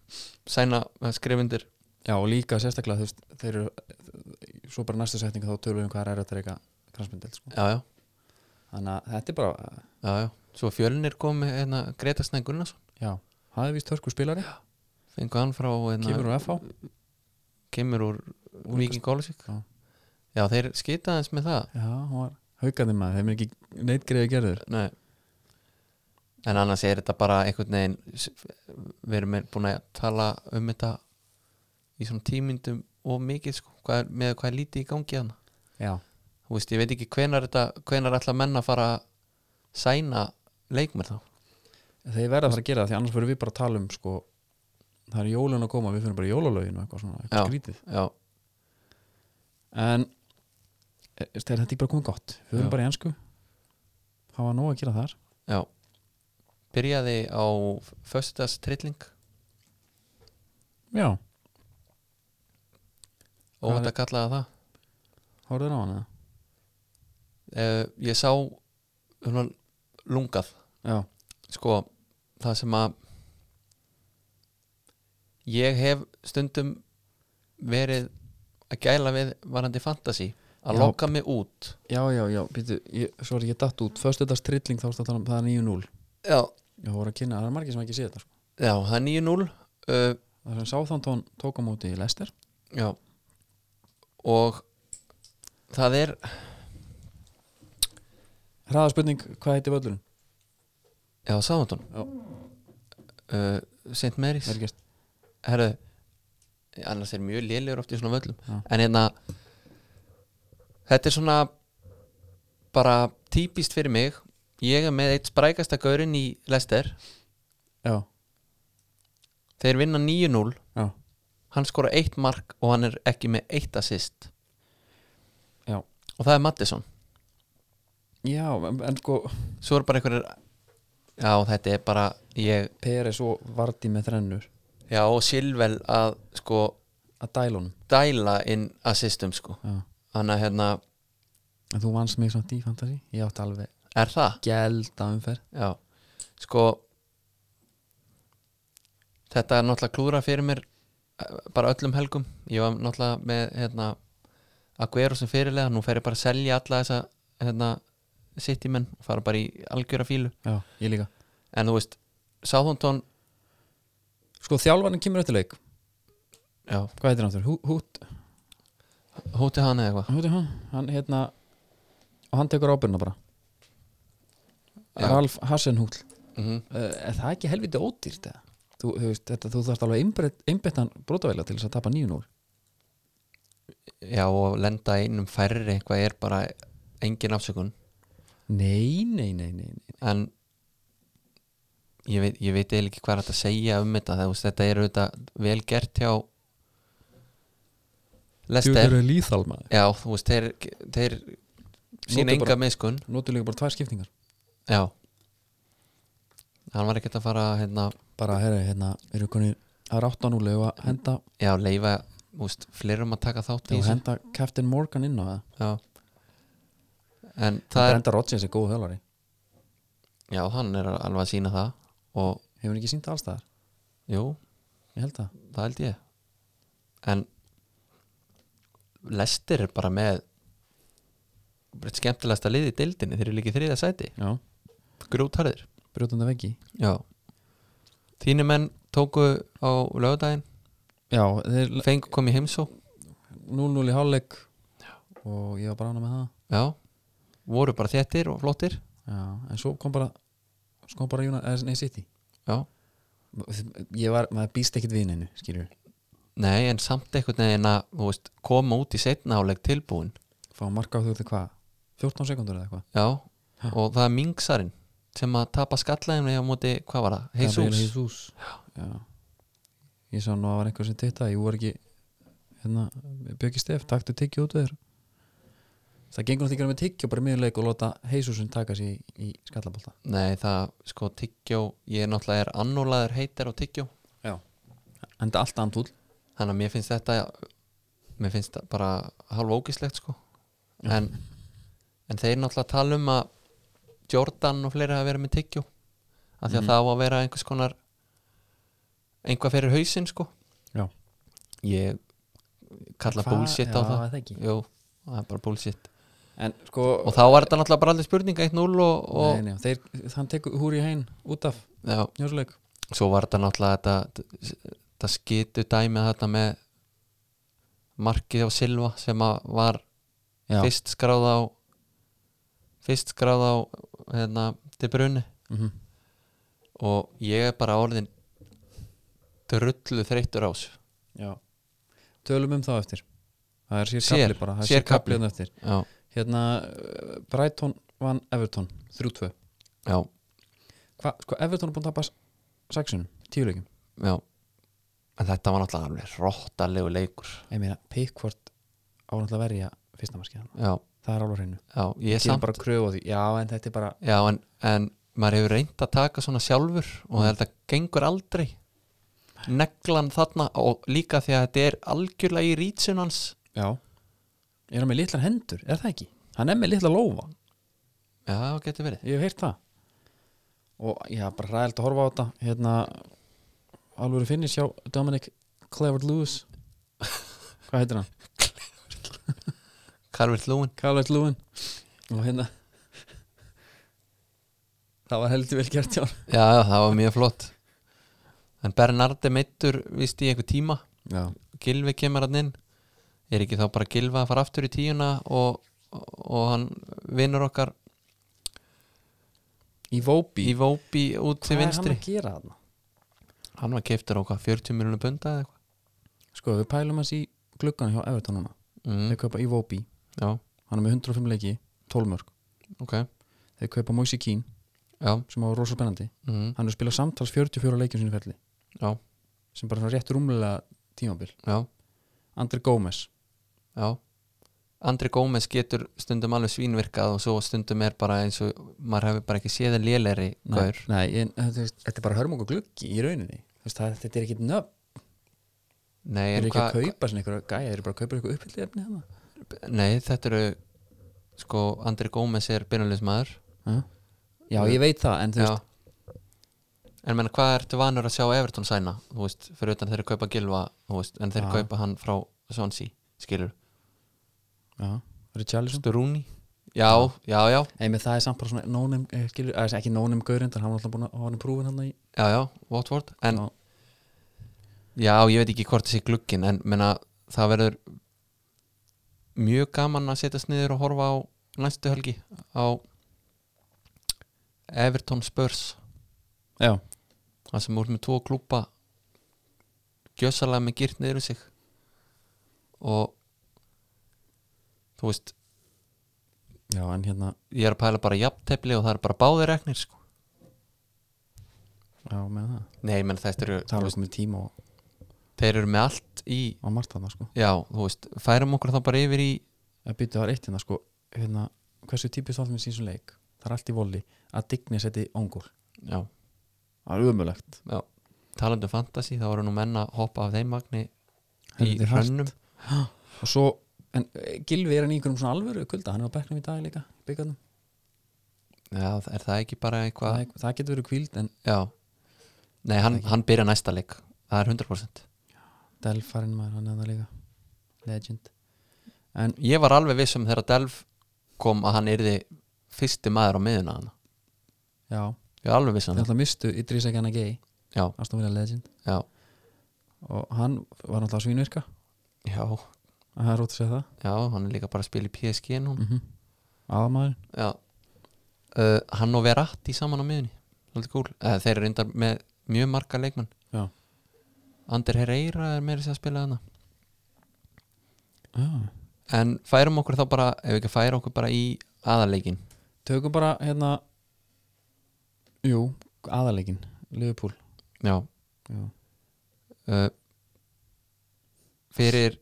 sæna eh, skrifundir já og líka sérstaklega þú veist, þeir eru svo bara næstu setning þá tölum við um hvað er þetta reyka kransmyndel sko. já, já, þannig að þetta er bara já, já svo fjölnir komi hérna Greta Snæ Gunnarsson já, það er víst törku spilari fengu hann frá hérna, kemur úr FH kemur úr Viking Gólusík Já. já, þeir skita eins með það já, hún var haukandi maður, þeim er ekki neitt greiði gerður Nei. en annars er þetta bara einhvern veginn s- við erum með- búin að tala um þetta í svona tímyndum og mikið sko, hvað er, með hvað er lítið í gangi hana já, þú veist, ég veit ekki hvenar þetta hvenar ætla menn að fara að sæna leikmenn þá þeir verða að fara að gera það því annars fyrir við bara að tala um sko, það er jólun að koma, við fyrir bara jólalögin og eitthvað svona, eitthvað Já. skrítið já, en e, þetta er bara komið gott, við Já. fyrir bara í ensku hafa nóg að gera þar já byrjaði á föstudags trilling já, og Það þetta kallaði það horfður á hana uh, ég sá svona lungað já, sko, það sem að ég hef stundum verið að gæla við varandi fantasi að Já. lokka mig út já, já, já býtu, ég, sorry, ég datt út, föstudags trilling þá ertu að tala um, það er 9-0 já, ég voru að kynna, það er margir sem ekki sé þetta sko. já það er 9-0 uh, það sem Sáþántón tók á móti í Lester já og það er hraðaspurning, hvað heiti völlurinn? já, sáðantón Já. uh, St. Mary's Vel gert. herru annars er mjög lélegur oft í svona völlum Já. en hérna þetta er svona bara típist fyrir mig ég er með eitt sprækasta gaurinn í Lester já, þeir vinna 9-0 já, hann skora eitt mark og hann er ekki með eitt assist Já. og það er Mattisson já, en, en sko svo er bara einhverjir já þetta er bara ég Peres og Vardí með þrennur já og Silvel að sko að dæla honum dæla inn assistum sko já. hann að hérna en þú vannst mig samt í fantasy ég átti alveg er það gælda umferð Já, sko Þetta er náttúrulega klúra fyrir mér eh, bara öllum helgum Ég var náttúrulega með hérna, Aguero sem fyrirlega, nú fer ég bara að selja alla þessa hérna, City menn og fara bara í algjöra fílu já, ég líka En þú veist, Southampton sko þjálfarnir kemur eftir leik Já, hvað heitir hann þurr? Hú, hút, hóti hann eða eitthvað hút er hann hann hérna og hann tekur ábyrna bara Já. Ralf Hasenhúl mm uh, er það ekki helviti ódýrt eða? Þú, þú, veist, þetta, þú þarft alveg einbettan brotavæla til þess að tapa 9-0 Já, og lenda einum færri eitthvað er bara engin afsökun nei, nei, nei, nei, nei. en ég veit, ég veit eiginlega ekki hvað er hægt að segja um þetta það, veist, þetta er auðvitað vel gert hjá Lester líþal maður já, þú veist, þeir, þeir sína Notu bara- enga miskun notur líka bara tvær skiptingar já hann var ekkert að fara að, hérna, bara, herri, hérna, eru konið að rátta núlega og að henda já, leifa úst, fleirum að taka þátt í og þessu henda Captain Morgan inn á það já. en Það það er, Brenda Rodgers er góð þjálfari já, hann er alveg að sína það og, Hefur hann ekki sínt allstaðar? jú, Ég held það það held ég en Lester er bara með bara eitt skemmtilegasta lið í deildinni þeir eru líka í þriða sæti, Já, grjótarðir brjótandi veggi já þínu menn tóku á lögadaginn Já, þeir fengu kom í heimsó 0-0 í hálfleik og ég var bara ána með það já, voru bara þettir og flottir Já, en svo kom bara svo kom bara Júna, eða nei, City já, Ég var, maður býst ekkit við neinu, skilur nei en samt einhvern veginn að þú veist, koma út í setna áleg tilbúin Fá marka á þau til hvað? 14 sekundur eða eitthvað já, og það er mingsarinn sem að tapa skallaðinu á móti, hvað var það? Gabriel Heisús Jesus Já. Ég sá nú að var einhver sem titta Ég voru ekki hérna, Bjöggi Stef, taktu tyggju út við þér Það gengur náttúrulega með tyggju bara miðurleik og láta heisusun taka sér í, í skallabólta Nei, það, sko, tyggjó ég er náttúrulega er annúlaður heitar á tyggjó Enda allt andúl þannig að mér finnst þetta mér finnst það bara hálfa ógislegt sko en, en þeir náttúrulega tala um að Jordan og fleiri hafa verið með tyggjó af því að Mhm. það á að vera einhvers konar einhvað fyrir hausinn sko Já. ég kalla bullshit á það það Jú, það er bara bullshit En sko og þá var þetta náttúrulega bara allir spurning 1-0 og, og nei, nei, þeir, Hann tekur húri hæn út af já, njósuleik svo var þetta náttúrulega þetta, þetta skitu dæmið þetta með markið á Silva sem að var Já, fyrst skráð á fyrst skráð á hérna, til brunni Mhm. og ég er bara orðin drullu þreyttur ás Já. Tölum um þá eftir Það er sér, Sér- kapli bara það er sér Sér kapli kafli. hérna eftir já, Hérna, uh, Brighton vann Everton 3-2 já, Hva, sko, Everton er búin að tapa s- sexunum, tíu leikum já en þetta var náttúrulega alveg rottalegu leikur ég meina, Pickford á náttúrulega að verja fyrsta markið hann, já, það er alveg á hreinu já, ég ég er samt bara kröfu á því, já en þetta er bara já, en, en maður hefur reynd að taka svona sjálfur og þetta gengur aldrei neglan þarna og líka því að þetta er algjörlega í rítsunans já, er hann með litlar hendur, er það ekki hann er með litla lófa, já, getur verið ég hef heyrt það og ég hef bara ræðilt að horfa á þetta hérna alveg finnir sjá Dominic Clevert Lewis hvað heitir hann? Karvilt Lúin Calvert Lewin og hérna það var heldur vel gert hjá hann Já, já, það var mjög flott En Bernardi meittur víst í einhver tíma já, Gilvi kemur hann inn Er ekki þá bara Gilva að fara aftur í tíuna og, og hann vinnur okkar í Vóbi í Vóbi út til vinstri hann að gera þarna? Hann var keiftur okkar 40 miljonum punda eða Sko, við pælum hans í gluggan hjá Everton núna eitthvað Þeir mm, kaupa Ivobi, Já, hann er með 105 leiki 12 mörg, ok þeir kaupa Moise Keane Já, sem var rosa spennandi mm, hann er að spila samtals 44 leikjum sinni ferli Já. sem bara svona rétt rúmlega tímabil já, Andri Gómez, já Andri Gómez getur stundum alveg svínvirkað og svo stundum er bara eins og maður hefur bara ekki séð en lélegri gaur nei, en, þetta, er- þetta er bara hörmung og gluggi í rauninni Þú veist, það, þetta er ekkit nöfn, Nei, þeir en eru ekki hvað að kaupa sinni einhverja gæja, þeir eru bara að kaupa eitthvað upphildið efni hana Nei, þetta eru sko, Andri Gómez er byrjulegismæður Já, ég veit það, en þú Já veist, En menna, hvað ertu vanur að sjá Everton sæna þú veist, fyrir utan þeir eru kaupa Gilva þú veist, en þeir Já. kaupa hann frá Swansea skilur, já, Richarlison Sturuni Já, já, já, Nei, með það er samt bara svona nónum, eh, ekki nónum gaurindar, hann var alltaf búin að hafa hann prúfin hann í já, já, Watford en Já. já, ég veit ekki hvort þessi glukkin en menna, það verður mjög gaman að setjast niður og horfa á næstu helgi á Everton Spurs Já, það sem voru með tvo klúpa gjössalega með gýrt niður um sig og þú veist, já, en hérna ég er að pæla bara jafntefli og það er bara báðir reknir sko. Já, með það. nei, menn þetta eru Það þú var veist, komið tíma á, þeir eru með allt í á margt þarna, sko. já, þú veist, færum okkur þá bara yfir í Það býttu var eitt hérna, sko, hérna, hversu típist þáttum við sínsum leik? Það er allt í voli að digni seti óngul. já, Það er umulegt. já, talandi um fantasy þá voru nú menn að hoppa af þeim magni í Heldur hart. hrönnum Og svo, en eh, Gylfi er hann í einhverjum svona alvöru kulda, hann er á bekknum í dag líka, í byggarnum. já, er það ekki bara Það, eitthvað er- það getur verið kvíld, en já, nei, hann, hann byrja næsta leik það er 100% Delfarinn maður, hann er það líka. Legend. En, ég var alveg viss um þegar Delf kom að hann yrði fyrsti maður á miðuna hann já, ég var alveg viss það um er það alltaf mistu Idris Egana Gay, já, Aston Villa Legend. já, Og hann var alltaf svínvirka, já, að það er rótt að segja það. já, hann er líka bara að spila í PSG núna Mm -hmm. Aðamaður. já uh, hann og Verratti saman á miðunni svolítið cool, eh, þeir eru reyndar með mjög marga leikmenn Já. Ander Herreira er meira sér að spila þarna Já. en færum okkur þá bara, ef við ekki færum okkur bara í aðarleikin tökum bara hérna Jú, aðalegin, Liverpool já Já, uh, fyrir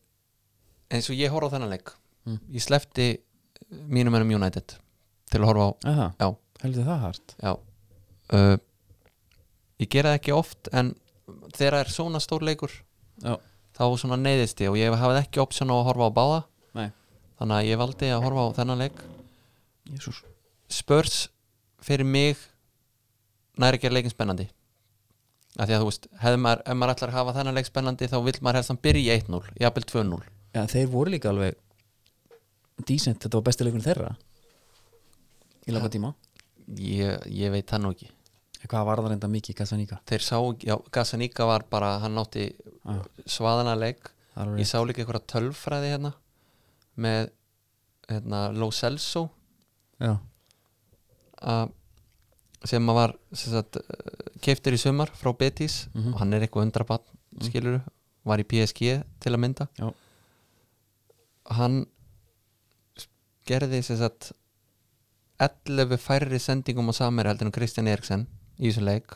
eins og ég horfa á þennan leik Mm. ég slefti mínum ennum United til að horfa á Eða það? Já. Heldur það hart? já, uh, ég gera það ekki oft en þegar það er svona stór leikur Já. þá svona neyðist ég og ég hafði ekki option á að horfa á báða Nei. þannig að ég valdi að horfa á þennan leik Jésús Spurs fyrir mig næri ekki að leikin spennandi af því að þú veist, hefði maður, ef maður ætlar að hafa þennan leik spennandi þá vill maður helst hann byrja í 1-0 jafnvel 2-0 Já, þeir voru líka alveg decent, þetta var besti leikurinn þeirra í langa tíma ég, ég veit það nú ekki Hvað var það reynda mikið, Kassaníka? þeir sá, ekki- já, Gassaníka var bara hann nátti Ah. svaðana leik Það ég var sá líka einhverja tölfræði hérna með hérna, Lo Celso Já, að sem að var sem sagt, keiftur í sumar frá Betis Mhm. og hann er eitthvað undrabann skilur var í PSG til að mynda Mm. Já. hann gerði sem sagt 11 færri sendingum á samir heldur en Kristján Eriksen í þessum leik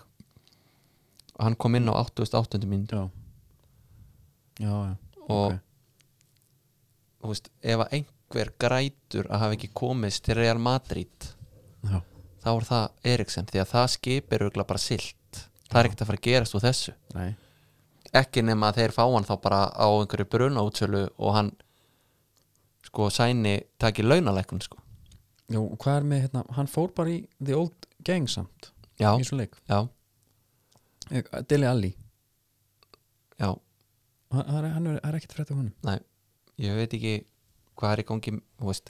og hann kom inn á 8800 mínútur Mhm. já Já, já, og ok. þú veist, ef að einhver grætur að hafa ekki komist til Real Madrid já. þá er það Eriksen því að það skip er auðvitað bara silt það er ekkert að fara að gerast úr þessu Nei, ekki nema að þeir fá hann þá bara á einhverju brunaútsölu og hann sko sæni taki launalækun sko Jú, hvað er með, hérna, hann fór bara í The Old Gang samt já, í svo leik já, Eh, Dele Alli, já, hann, hann er- hann er, hann er ekkert frétt á honum næ ég veit ekki hvað er í gangi þú veist.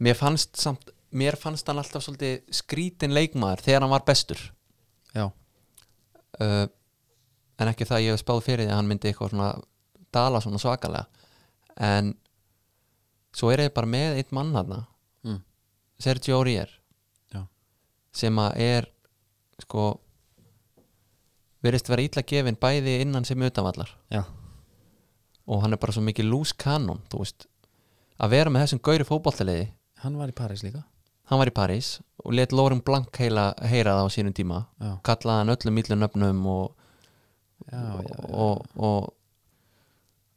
mér fannst samt mér fannst hann alltaf svolítið skrítin leikmaður þegar hann var bestur Já, uh, en ekki það að ég hef spáð fyrir því að hann myndi eitthvað svona dala svona svakalega en svo er ég bara með eitt mann þarna Mm. Sergio Aurier Já. sem að er sko verðist vera illa gefin bæði innan sem utanvallar já, og hann er bara svo mikið loose cannon þú veist, að vera með þessum gauri fótboltaliði hann var í París líka hann var í París og let Lauren Blank heila, heyra það á sínum tíma Já, kallaði hann öllum illum nöfnum og já, já, já. og, og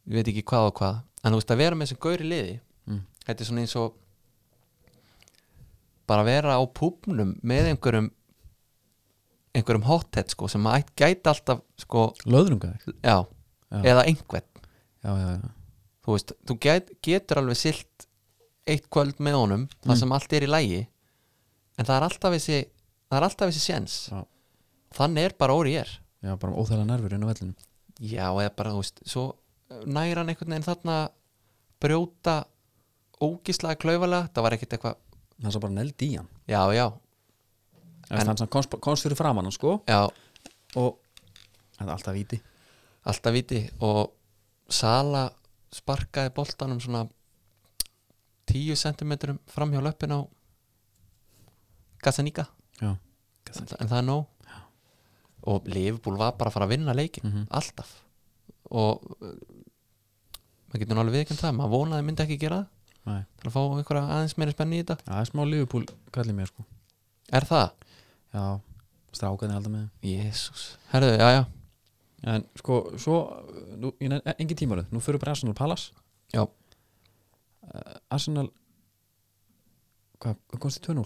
ég veit ekki hvað og hvað en þú veist að vera með þessum gauri liði Mm. þetta er svona eins og bara vera á púpnum með einhverjum einhverjum hothead sko sem að gæti alltaf sko Löðrunga þig já, Já. eða einhvern Já, já, já, þú veist, þú get, getur alveg silt eitt kvöld með honum Mm. þar sem allt er í lægi en það er alltaf þessi það er alltaf þessi séns Já. þannig er bara orðið er já bara óþæla nervur inn á vellinu Já, eða bara, þú veist, svo eh, næra hann einhvern veginn þarna brjóta ógíslaða klaufalega, það var ekkert eitthvað Hann sá bara neld í hann já, já, en, hann sem komst, komst fyrir framann hann, sko já, og þetta er alltaf viti alltaf viti og Sala sparkaði boltanum svona 10 cm fram hjá löppin á Gazaníka já, en, en það er nóg og Liverpool var bara að fara að vinna leikin Mhm. Mm. alltaf og uh, maður getur nú alveg viðkjönd það maður vonaði myndi ekki gera það Nei. til að fá einhverja aðeins meira spenni í þetta það er smá liðupúl kallið mér sko Er það? já, strákaðin halda með Jésús Herðu, já, já, þeim en sko, svo uh, nú, ég nefn- engin tímaröð, nú fyrir bara Arsenal Palace Já. Eh, Arsenal hvað, hvað komst þið 2-0?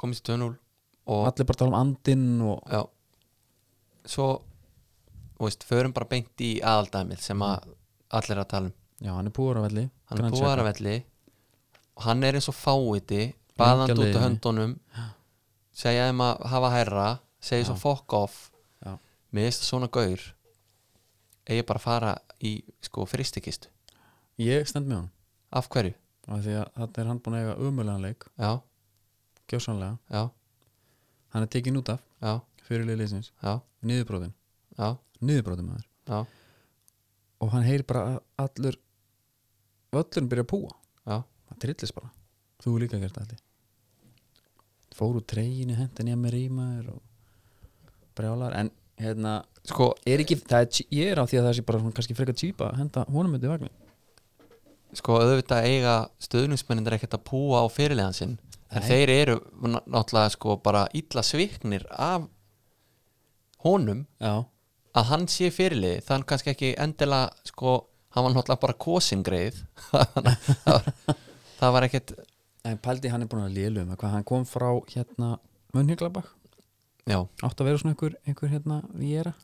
komist í 2-0 og allir bara tala um andinn og já, svo þú veist, förum bara beint í aðaldæmið sem að allir er að tala um já, hann er búar af velli hann er Granit búar af velli og hann er eins og fáiði baðand Lengi á út leiðinni. á höndunum segja þeim að hafa hærra segja svo fuck off Já. mér finnst það svona gaur eigi bara að fara í sko fristikistu Xhaka. ég stend með hann af hverju? af því að þetta er hann búin að eiga umöðlegan leik Já, gjössanlega, já, hann er tekin út af já, fyrir liðlýsins, já, niðurbróðin já, niðurbróðin maður já, og hann heyri bara að allur völlurinn byrja að púa já. hann trillist bara, þú hefur líka gert allir fór úr treyinu hendin ég með rýmaður og brjálar en hérna sko, er ekki, það er, tí- ég er á því að það sé bara svona, kannski frekar típa að henda honum myndi vagnin sko auðvitað eiga stöðningsmennir ekkert að púa á fyrirlegan sinn en þeir eru ná- náttúrulega sko bara illa sviknir af honum Já, að hann sé fyrirlið þann kannski ekki endilega sko, hann var náttúrulega bara kosingreið það var ekkert en Paldi hann er búin að lélu um það, hvað hann kom frá hérna Mönnhyglabak, já, átt að vera svona einhver, einhver hérna Viera,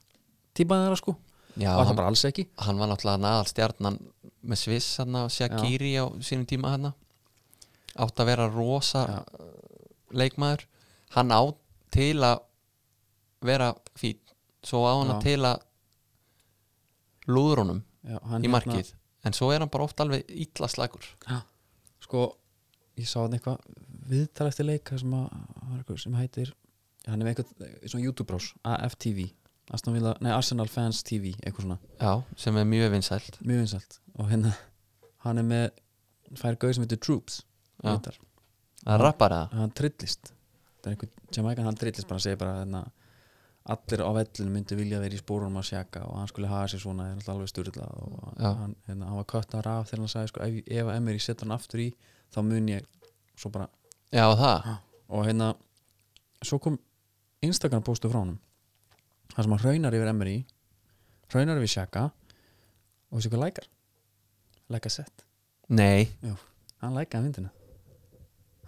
típaði þeirra sko já var hann, það bara alls ekki hann var náttúrulega naðal stjarnan með Sviss hann og Shakiri á sínum tíma hann átt að vera rosa Já. uh, leikmaður hann á til að vera fín svo á hann Já. til að lúður honum Já, hann hérna- í markið en svo er hann bara oft alveg illa slagur Já, sko, ég sá hann eitthvað viðtal eftir leik þar sem, að, var einhver sem heitir hann er með eitthvað, svona YouTube-brás AFTV, Aston Villa, nei Arsenal Fans TV, eitthvað svona, já, sem er mjög vinsælt mjög vinsælt og hérna, hann er með fær gauð sem heitir Troops Já. viðtal. það er rappar eða hann trillist það er einhver Jamaican, hann trillist bara að segja bara hérna, allir á vellinu myndi vilja vera í spórunum að sjaka og hann skulle hafa sér svona er alltaf alveg styrlað og Já. hann, hérna, hann var köttar af þegar hann sagði sko, ef, ef að Emery setur hann aftur í þá mun ég svo bara já, það, og hérna svo kom Instagram postu frá honum þar sem hann raunar yfir Emery raunar yfir sjaka og þessi hvað lækar lækar sett, nei, hann lækaði myndina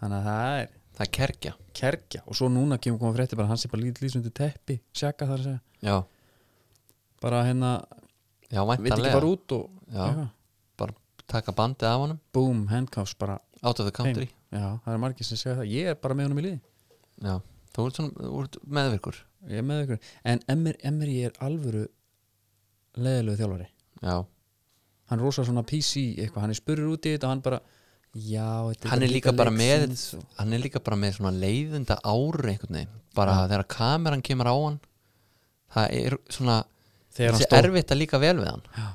þannig að það er það er kerkja kerkja og svo núna kemur koma frétti bara hann sé bara lítið lýsum undir teppi sjaka þar að segja já, bara hérna, já, vill ekki væntanlega fara út og já, eitthvað. taka bandið af honum boom, handcuffs bara out of the country já, það er margir sem segja það, ég er bara með honum í liði já, þú ert svona þú ert meðvirkur ég er með ykkur, en Emir, Emir er alvöru leðilegu þjálfari já, hann er rosa svona PC eitthvað, hann er spurður út í þetta og hann bara já, þetta Hann er bara líka bara með- leiksins og, hann er líka bara með svona leiðinda ári einhvern veginn, bara þegar kameran kemur á hann það er svona þegar hann þessi stóð erfitt að líka vel við hann já,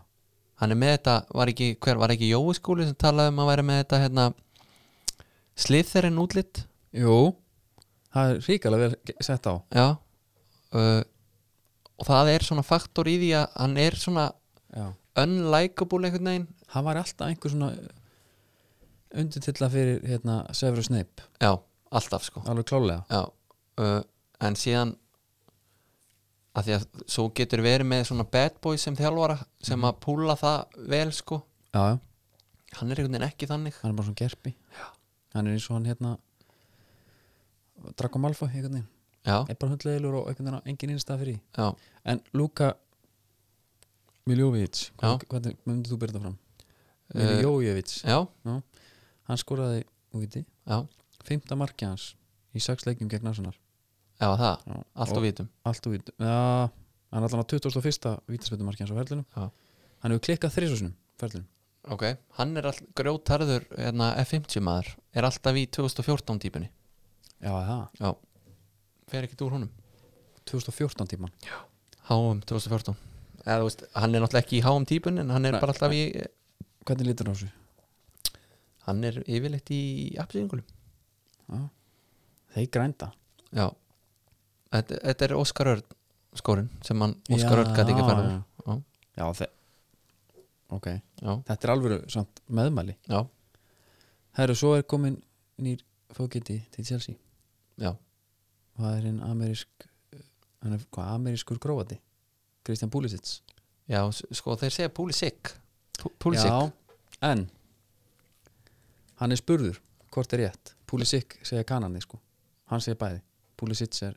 hann er með þetta, var ekki, hver var ekki Jói skúli sem talaði um að vera með þetta hérna, sliðþerinn útlitt jú, það er ríkalega vel sett á já uh, og það er svona faktor í því að hann er svona já. unlikable einhvern veginn hann var alltaf einhver svona undirtilla fyrir hérna, Severus Snape já, alltaf sko alveg klálega já, uh, en síðan að því að svo getur verið með svona bad boy sem þjálfara sem að púla það vel sko já, já. hann er einhvern veginn ekki þannig hann er bara svona gerpi já. hann er eins og hann hérna Draco Malfoy einhvern veginn já, er bara hundlegilur og einhvern veginn á engin innstæð fyrir því. já, en Luka Miljovic Já. hvað hvað myndir þú byrja það fram? Eh, Miljovic já, hann skoraði úti já, fymta marki hans í sex leikjum gegn Arsenal já það Já. allt og vitum, allt úr vítum já, hann er allan á 21. vítaspöldumarki hans á ferlinu Já. hann hefur klikkað þrísosunum ferlinu ok hann er all, grjótarður hérna, F50 maður er alltaf í 2014 típunni já, það, fer ekkert úr honum 2014 tíman HM 2014 Eða, þú veist, hann er náttúrulega ekki í HM típunni en hann er Nei, bara alltaf í hvernig lítur á þessu? hann er yfirleitt í appsýðingulum Já. þeir grænda já þetta, þetta er Óskar Örn skórin sem hann Óskar Örn gæti ekki að fara úr. já, já þeir ok, já, þetta er alveg samt meðmæli já, herru, svo er komin nýr fókiti til Chelsea já, það er hinn amerísk hann er hvað, amerískur grófati Kristján Púlisits já s- sko þeir segja Púlisik Púlisik, Já, en hann er spurður hvort er rétt, Pulisic segja kanani sko, hann segja bæði Pulisic er,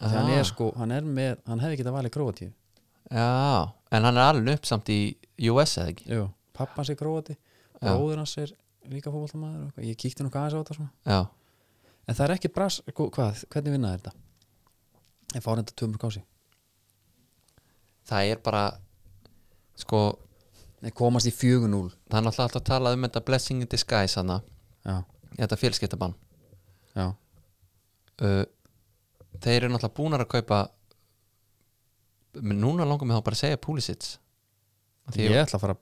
ah. hann er sko hann er með, hann hefði getað valið Króatíu já, en hann er alveg upp samt í US eða ekki Jú, pappan segja Króati bróður hans er líka fótboltamaður og eitthvað. ég kíkti nokkuð aðeins á þetta svona já, en það er ekki brass, sko, hvað, hvernig vinnaði þetta? Ég fá reynda tömur kási það er bara sko, Nei, komast í 4-0 það er náttúrulega alltaf að tala um þetta blessing in disguise hann Já, þetta fjölskyttabann já, uh, þeir eru náttúrulega búnar að kaupa menn núna langar mig þá bara að segja Pulisic Því- ég ætla að fara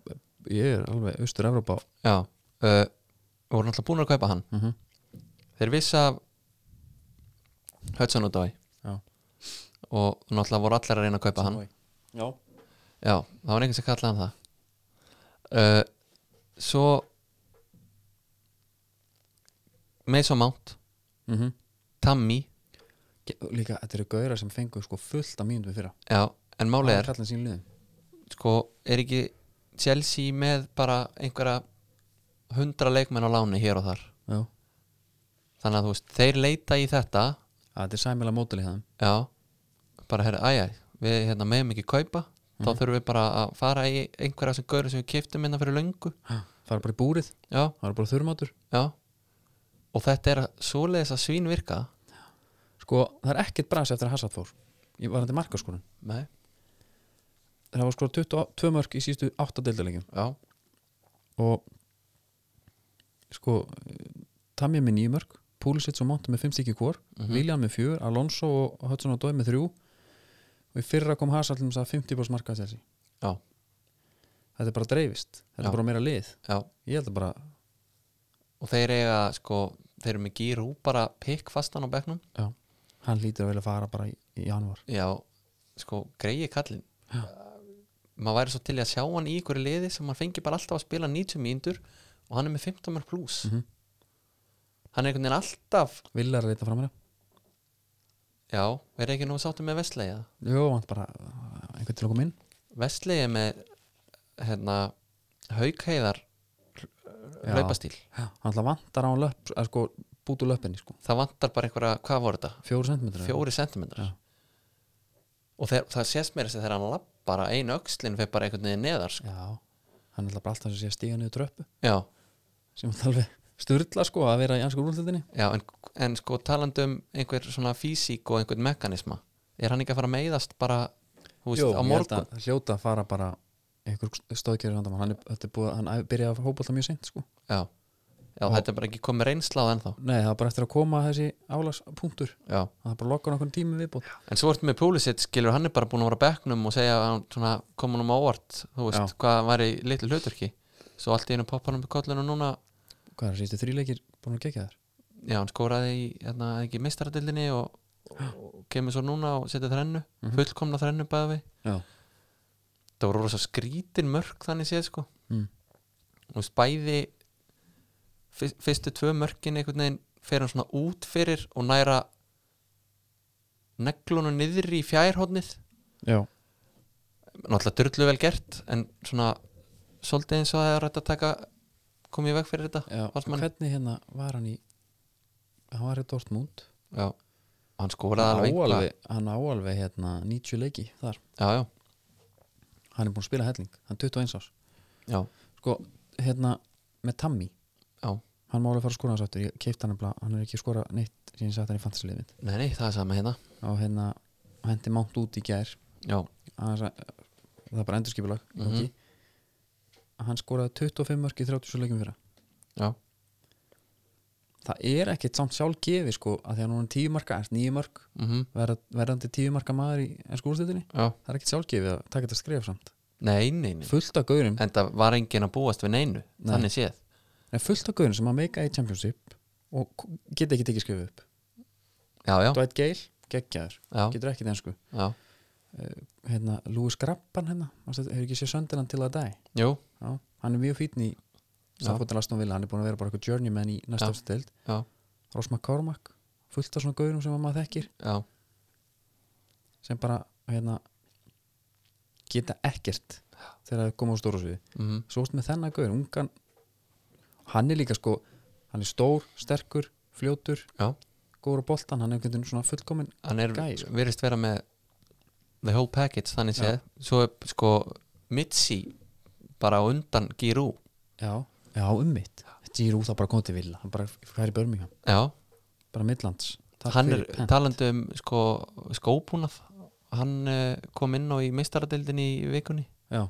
ég er alveg austur Evrópa já, uh, voru náttúrulega búnar að kaupa hann mm þeir vissi af Hudson og Dói Já. og náttúrulega voru allir að reyna að kaupa hann Já, já, það var einhvern sem kallaði hann það uh, svo Mason Mount, mm -hmm. Tammy Líka, þetta eru gauðra sem fengu sko fullt af mínútum fyrra já, en málið er, kallin sín liðum sko, er ekki Chelsea með bara einhverja hundra leikmenn á láni hér og þar Já, þannig að þú veist, þeir leita í þetta að þetta er sæmilega mótil í það já, bara herri, æja við hérna meðum ekki kaupa þá þurfum við bara að fara í einhverja sem gaur sem við kiftum innan fyrir löngu Það er bara í búrið, já, það er bara þurrmátur já og þetta er að svoleiðis að svín virka Sko, það er ekkert brans eftir að Hassad fór Ég var hann til markaskorun nei, Það var sko 22 mörg í sístu 8 deildarleikjum já, og sko Tamja með 9 mörg, Púlisits og Monta með 5 stíki hvor, Mhm. William með 4 Alonso og Hudson og Dói með 3 og í fyrra kom Hassad til þess að 50 bóðs markaði þessi já, Þetta er bara dreifist, þetta Já. er bara meira lið já Ég held að bara, og þeir eiga sko, þeir eru með gýrú bara pikk fastan á bekknum já, hann lítur að vilja fara bara í, í janúar já, sko, greiði kallinn Já. maður væri svo til í að sjá hann í ykkur liði sem hann fengi bara alltaf að spila 90 mínútur og hann er með 15 mörg plus Mhm. hann er einhvern veginn alltaf Villar að leita framar já, er ekki nú sáttum með Vestleiða Jó, hann bara, eh, einhvern til að koma inn Vestleiði með hérna, haukheiðar Já. laupastíl, Já, hann alltaf vantar á hann löp, að sko bútu löppinni sko, það vantar bara einhverja hvað voru þetta? fjóru sentimetrar fjóri sentimentar Já. og þeir, það sést mér þess að þegar hann lapp bara ein öxlin fyrir bara einhvern veginn neðar sko. Já, hann er alltaf bara alltaf sem sé að stíga niður tröppu já, sem er alveg styrla sko að vera í ansku rúldildinni já en, en sko talandi um einhver svona físík og einhvern mekanisma er hann ekki að fara að meiðast bara þú veist, á morgun hljóta að fara bara einhver stóðkjörður handamann hann, er, þetta er búið, hann byrjaði að hópa alltaf mjög seint sko. já, já Og- þetta er bara ekki komið reynsla á það ennþá nei það var bara eftir að koma þessi álagspunktur já. það er bara að lokka nokkur tími viðbót en svo ertu með Púlisitt skilur hann er bara búin að vera á bekknum og segja að hann svona koma hann á óvart þú veist, Já. hvað var í litlu hluturki svo allt í einu poppar hann upp í kollinu og núna hvað er það sístu þríleikir búin að gegja þér já, hann skoraði í, hérna, ekki mistaradildinni og, og kemur svo núna og setja þrennu, fullkomna þrennu bæði við já, það voru rosa skrítin mörk þannig séð sko mm. og spæði fyrstu tvö mörkin einhvern veginn fer hann svona út fyrir og næra neglunum niður í fjærhóðnið já. náttúrulega dyrlu vel gert en svona svolítið eins og það er rætt að taka komið í veg fyrir þetta já. Valsmann. hvernig hérna var hann í hann var í Dortmund já, hann skoraði hann á alveg vinkla. alveg, hann á alveg hérna, 90 leiki þar já, já, hann er búin að spila helling, hann er 21 árs já, sko, hérna með Tammy já hann má alveg fara að skora hans aftur ég keipt hann nefnilega, hann er ekki að skora neitt síðan ég sætt hann í fantasiliðið mitt nei, nei, það er sama hérna og hérna, og hendi mánt út í gær já, annars að, það er bara endurskipulag mm Mhm. -hmm. hann skoraði 25 mörg í 30 svo leikum fyrra já, það er ekkit samt sjálf gefi sko að því að núna 10 marka, er 9 mörg mhm verða- verðandi 10 marka maður í ennsku úrstöldinni Já, það er ekkit sjálf gefið að taka þetta skref samt nei, nei, nei fullt af gaurum, En það var enginn að búast við neinu Þannig séð en fullt af gaurum sem að meika í championship og k- geta ekki tekið skrifu upp Já, já, Dwight Gale, geggjaður, já, getur ekkit ennsku já hérna, Lewis Grappan hérna manstu, hefur ekki séð Söndaland til að dæ Jú, já, hann er mjög fítn í Já. samfóttan Aston Villa, hann er búin að vera bara eitthvað journeyman í Já. næsta afstild, já, Ross McCormack fullt af svona gaurum sem að maður þekkir já, sem bara hérna, geta ekkert þegar það koma á stóra sviði mhm, svo oft með þennan gaur, ungan hann er líka sko, hann er stór sterkur, fljótur, já góður á boltan hann er einhvern veginn svona fullkomin Hann er Gæi, sko. virðist vera með The whole package, þannig séð Já. Svo er sko Mitzi bara á undan Giroux já, já um ummitt, þetta er út að bara koma til Villa hann bara fær í Birmingham, Já, bara Midlands Takk hann er fyrir Pep. talandi um sko skóbúnað Hann uh, kom inn á í meistaradildinni í vikunni já,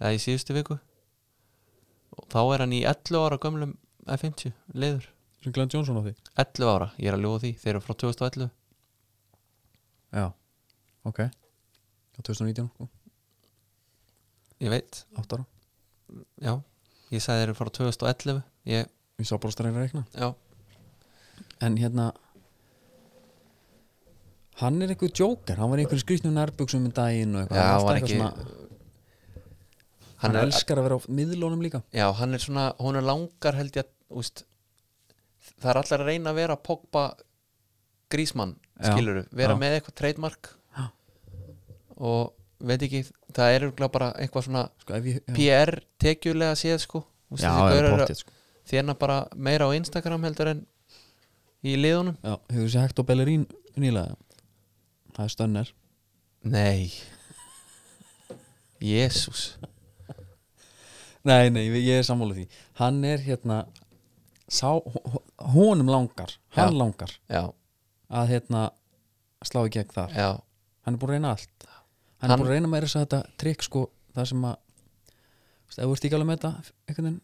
eða í síðustu viku og þá er hann í 11 ára gömlum F50 liður sem Glenn Johnson á því 11 ára, ég er að ljóða því, þeir eru frá 2011 já, ok á 2019, sko, ég veit, 8 ára já ég sagði þeir eru frá 2011 ég, ég sá bara stærlega að reikna já, en hérna hann er einhver jóker, hann var í einhverjum skrýtnum nærbuksum um daginn og eitthvað Já, alltaf var eitthvað ekki- hann, hann, er, elskar að vera á miðlónum líka já, hann er svona hún er langar held ég að úst, það er allar að reyna að vera Pogba Grísmann Já, skiluru, vera já. með eitthvað trademark og veit ekki það er örugglega bara eitthvað svona sko, ef ég, já. PR tekjulega séð sko Þú Já, veist, þessi já, gaurar eru pottið, sko. að þjána bara meira á Instagram heldur en í liðunum já, hefur þessi hægt og bellerín nýlega það er stönner Nei Jésús Nei, nei, ég ég er sammála því Hann er hérna sá, honum langar, hann Já. langar Já, að hérna slá í gegn þar já, Hann er búin að reyna allt Hann, er Hann- búin að reyna meira þess að þetta trikk sko það sem að þú veist, ef þú ert ekki alveg með þetta einhvern veginn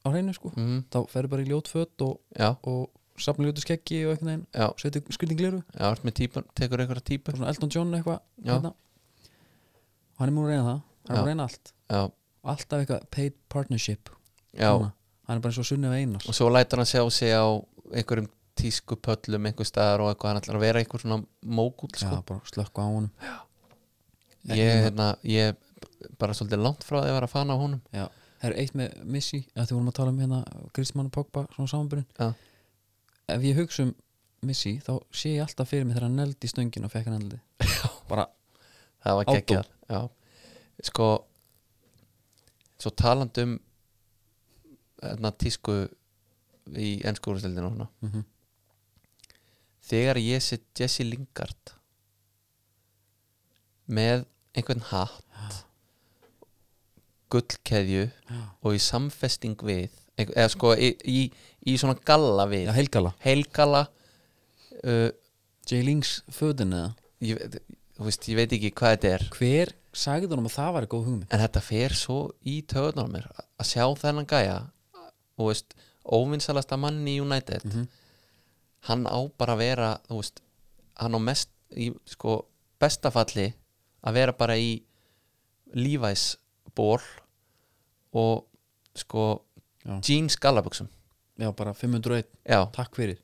á hreinu sko mm, þá ferðu bara í ljót föt og, já, og safna ljótu skeggi og einhvern veginn já setja skrýting gleru Já, ert með típun, tekur einhverja típu og svona Elton John eitthvað Já. hérna. og hann er búin að reyna það hann er Já. búin að reyna allt Já, og alltaf eitthvað paid partnership já Núna. hann er bara eins og sunnið einar Og svo lætur hann sjá sig á einhverjum tísku pöllum einhver staðar og eitthvað, hann ætlar að vera einhver svona mógúll sko. Já, bara slökku á honum Já. ég, hérna, ég bara svolítið langt frá því að vera að fana á honum Já, það er eitt með Missy að því vorum að tala um hérna Kristmann og Pogba, svona samanbyrjun Já. Ef ég hugsa um Missy þá sé ég alltaf fyrir mig þegar hann neldi í stöngin og fekk hann endli bara, Það var Átó. geggjað Já, sko Svo talandi um hérna, tísku í ennsku úrstildinu og svona mm þegar ég set Jesse Lingard með einhvern hatt gullkeðju Já. og í samfesting við einhver, eða sko í, í, í svona galla við Já, Helgala heilgalla uh, J. Lings föðin eða ég, veit- þú veist, ég veit ekki hvað þetta er Hver sagði honum að það var góð hugmynd? en þetta fer svo í töðunar mér að sjá þennan gæja þú veist, óvinnsalasta mann í United Mhm. hann á bara að vera þú veist, hann á mest í, sko, bestafalli að vera bara í Levi's ból og sko Já. jeans gallabuxum Já, bara 501, já, takk fyrir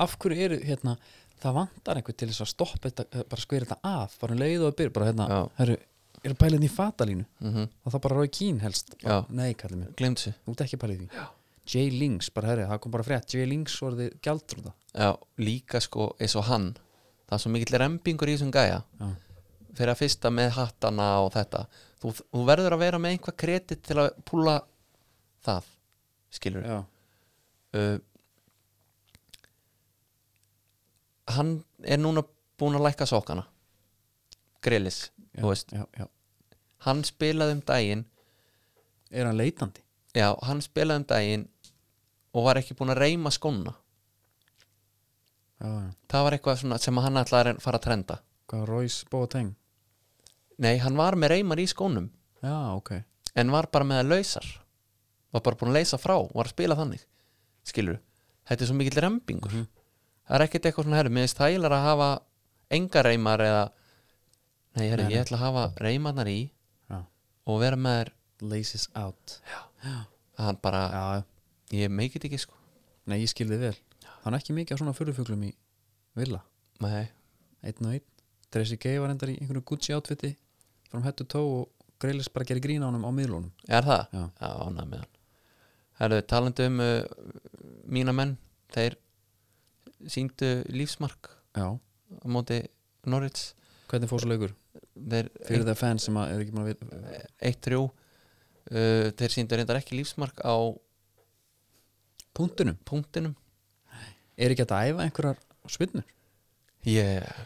Af hverju eru, hérna, það vantar einhver til þess að stoppa þetta, eh, bara skveri þetta af bara um leið og að byrja, bara hérna Já. herru, eru pælinn í fatalínu mm og það bara ráði kín helst Já. Nei, kallið mér glemt þessu Þú ert ekki að pæla í því J. Lings, bara herri, það kom bara frétt J. Lings orðið gjaldrúða já, líka sko eins og hann það er svo mikill rembingur í þessum gæja Já, fyrir að fyrsta með hattana og þetta þú, þú verður að vera með einhvað kredit til að púla það skilur já, uh, hann er núna búin að lækka sokkana grillis, já, þú veist já, já. hann spilaði um daginn Er hann leitandi? já, hann spilaði um daginn og var ekki búin að reyma skóna Já, já það var eitthvað svona sem hann ætlaði að fara að trenda Hvað, Royce Boateng? nei, hann var með reymar í skónum Já, ok en var bara með að lausar var bara búin að leysa frá, var að spila þannig skilur, þetta er svo mikill rembingur Mhm. það er ekkert eitthvað svona herri mér finnst þægilega að hafa enga reymar eða, nei herri, Nei, ég ætla að hafa reymarnar í Já. og vera með þær Laces out að hann bara, Já, já. ég meikið ekki sko nei, ég skildi vel Hann er ekki mikið af svona furufuglum í Villa nei, Einn og einn Dressi Gay var endar í einhverju Gucci outfiti From head to toe og Greilis bara gerir grín á honum á miðlunum er það? Já. já ánægð með hann herri, talandi um uh, mína menn, þeir síndu lífsmark Já, á móti Norrits hvernig fór svo leikur? þeir Fyrir það fans sem að er ekki maður að við 1-3 uh, þeir síndu reyndar ekki lífsmark á Puntunum, punktinum er ekki hægt að æfa einhverjar spinnur? yeah.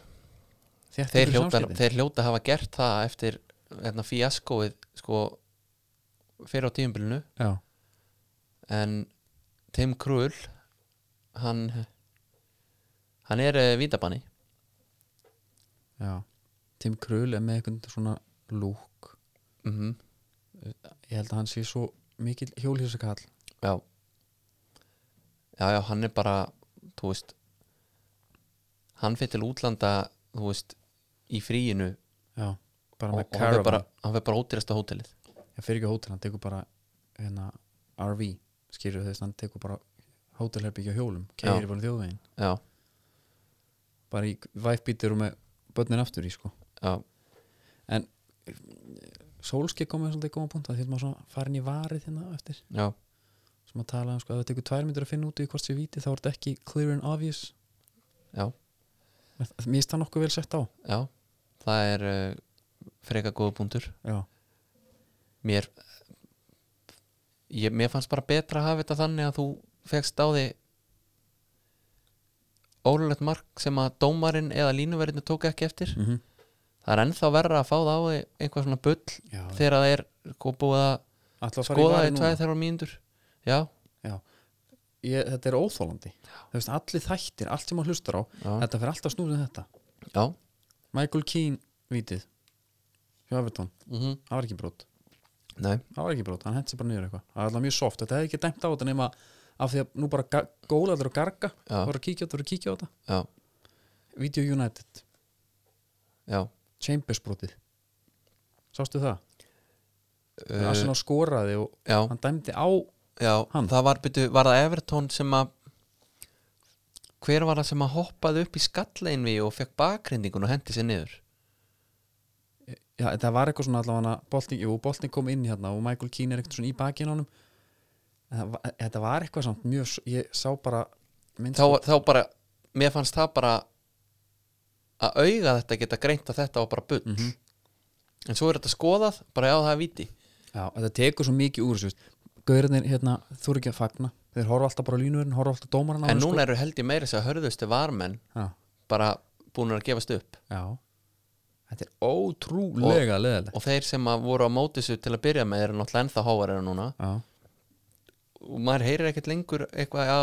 þeir, hljóta, þeir hljóta að hafa gert það eftir hérna, fíaskoið sko, fyrir á tíumbilinu Já, en Tim Krul hann hann er uh, vítabanni Já, Tim Krul er með einhvern svona lúk mm -hmm. ég held að hann sé svo mikill hjólhýrsakall já. já já, hann er bara þú veist hann fyrir til útlanda þú veist, í fríinu Já, bara og, með og hann caravan fer bara, hann fer bara ódýrasta hótelið ég fyrir ekki hótel, hann tekur bara hérna, RV, skýrur þess hann tekur bara hótelherbyggja hjólum keirir bara um þjóðveginn, já, bara í væfbítir og með börnin aftur í sko já, Sólskei komið svolítið góðan punkt, það þýttum að svona farin í varið hérna eftir já sem að tala um sko, ef þetta tekur tvær myndir að finna út í hvort sér víti þá er þetta ekki clear and obvious Já. Mér mér finnst það nokkuð vel sett á já, það er uh, freka góða búndur Já, mér ég, mér fannst bara betra að hafa þetta þannig að þú fegst á því ólulegt mark sem að dómarinn eða línuverðinu tók ekki eftir mm -hmm. það er ennþá verra að fá það á því einhver svona bull Já þegar það er sko búið að ætla að fara í skoða varin því núna? tvæði þeirra mínundur já, ég, þetta er óþólandi Þú veist, allir þættir, allt sem maður hlustar á já, þetta fer alltaf snúrið um þetta já Michael Keane vítið hjá Everton, mm -hmm. það var ekki brot nei, það var ekki brot, hann hendt sér bara niður eitthvað það var alltaf mjög soft, þetta hefði ekki dæmt á þetta nema af því að nú bara ga- góla allir og garga já, voru að kíkja á þetta, voru að kíkja á þetta já, Video United, já Chambers brotið sástu það? Uh, uh, Arsenal skoraði og já, hann dæmdi á já, Hann. það var byrju, var það Everton sem að hver var það sem að hoppaði upp í skallegin við og fekk bakrendingun og hendi sér niður já, það var eitthvað svona allavega bolting, jú, bolting kom inn hérna og Michael Keane er eitthvað svona í bakinn á honum En það var- þetta var eitthvað samt mjög, s- ég sá bara þá, þá bara, mér fannst það bara að auga þetta geta greint að þetta var bara bull en svo er þetta skoðað, bara já það er viti Já, þetta tekur svo mikið úr þessu Gaurinnir, hérna, þú eru ekki að fagna Þeir horfa alltaf bara á línuverðin, horfa alltaf á dómarinn en núna eru held ég meira þess að hörðustu varmenn Já, bara búin að gefast upp já Þetta er ótrúlega leðileg og þeir sem að voru á móti þessu til að byrja með eru náttúrulega ennþá hávarir núna Já, og maður heyrir ekkert lengur eitthvað já,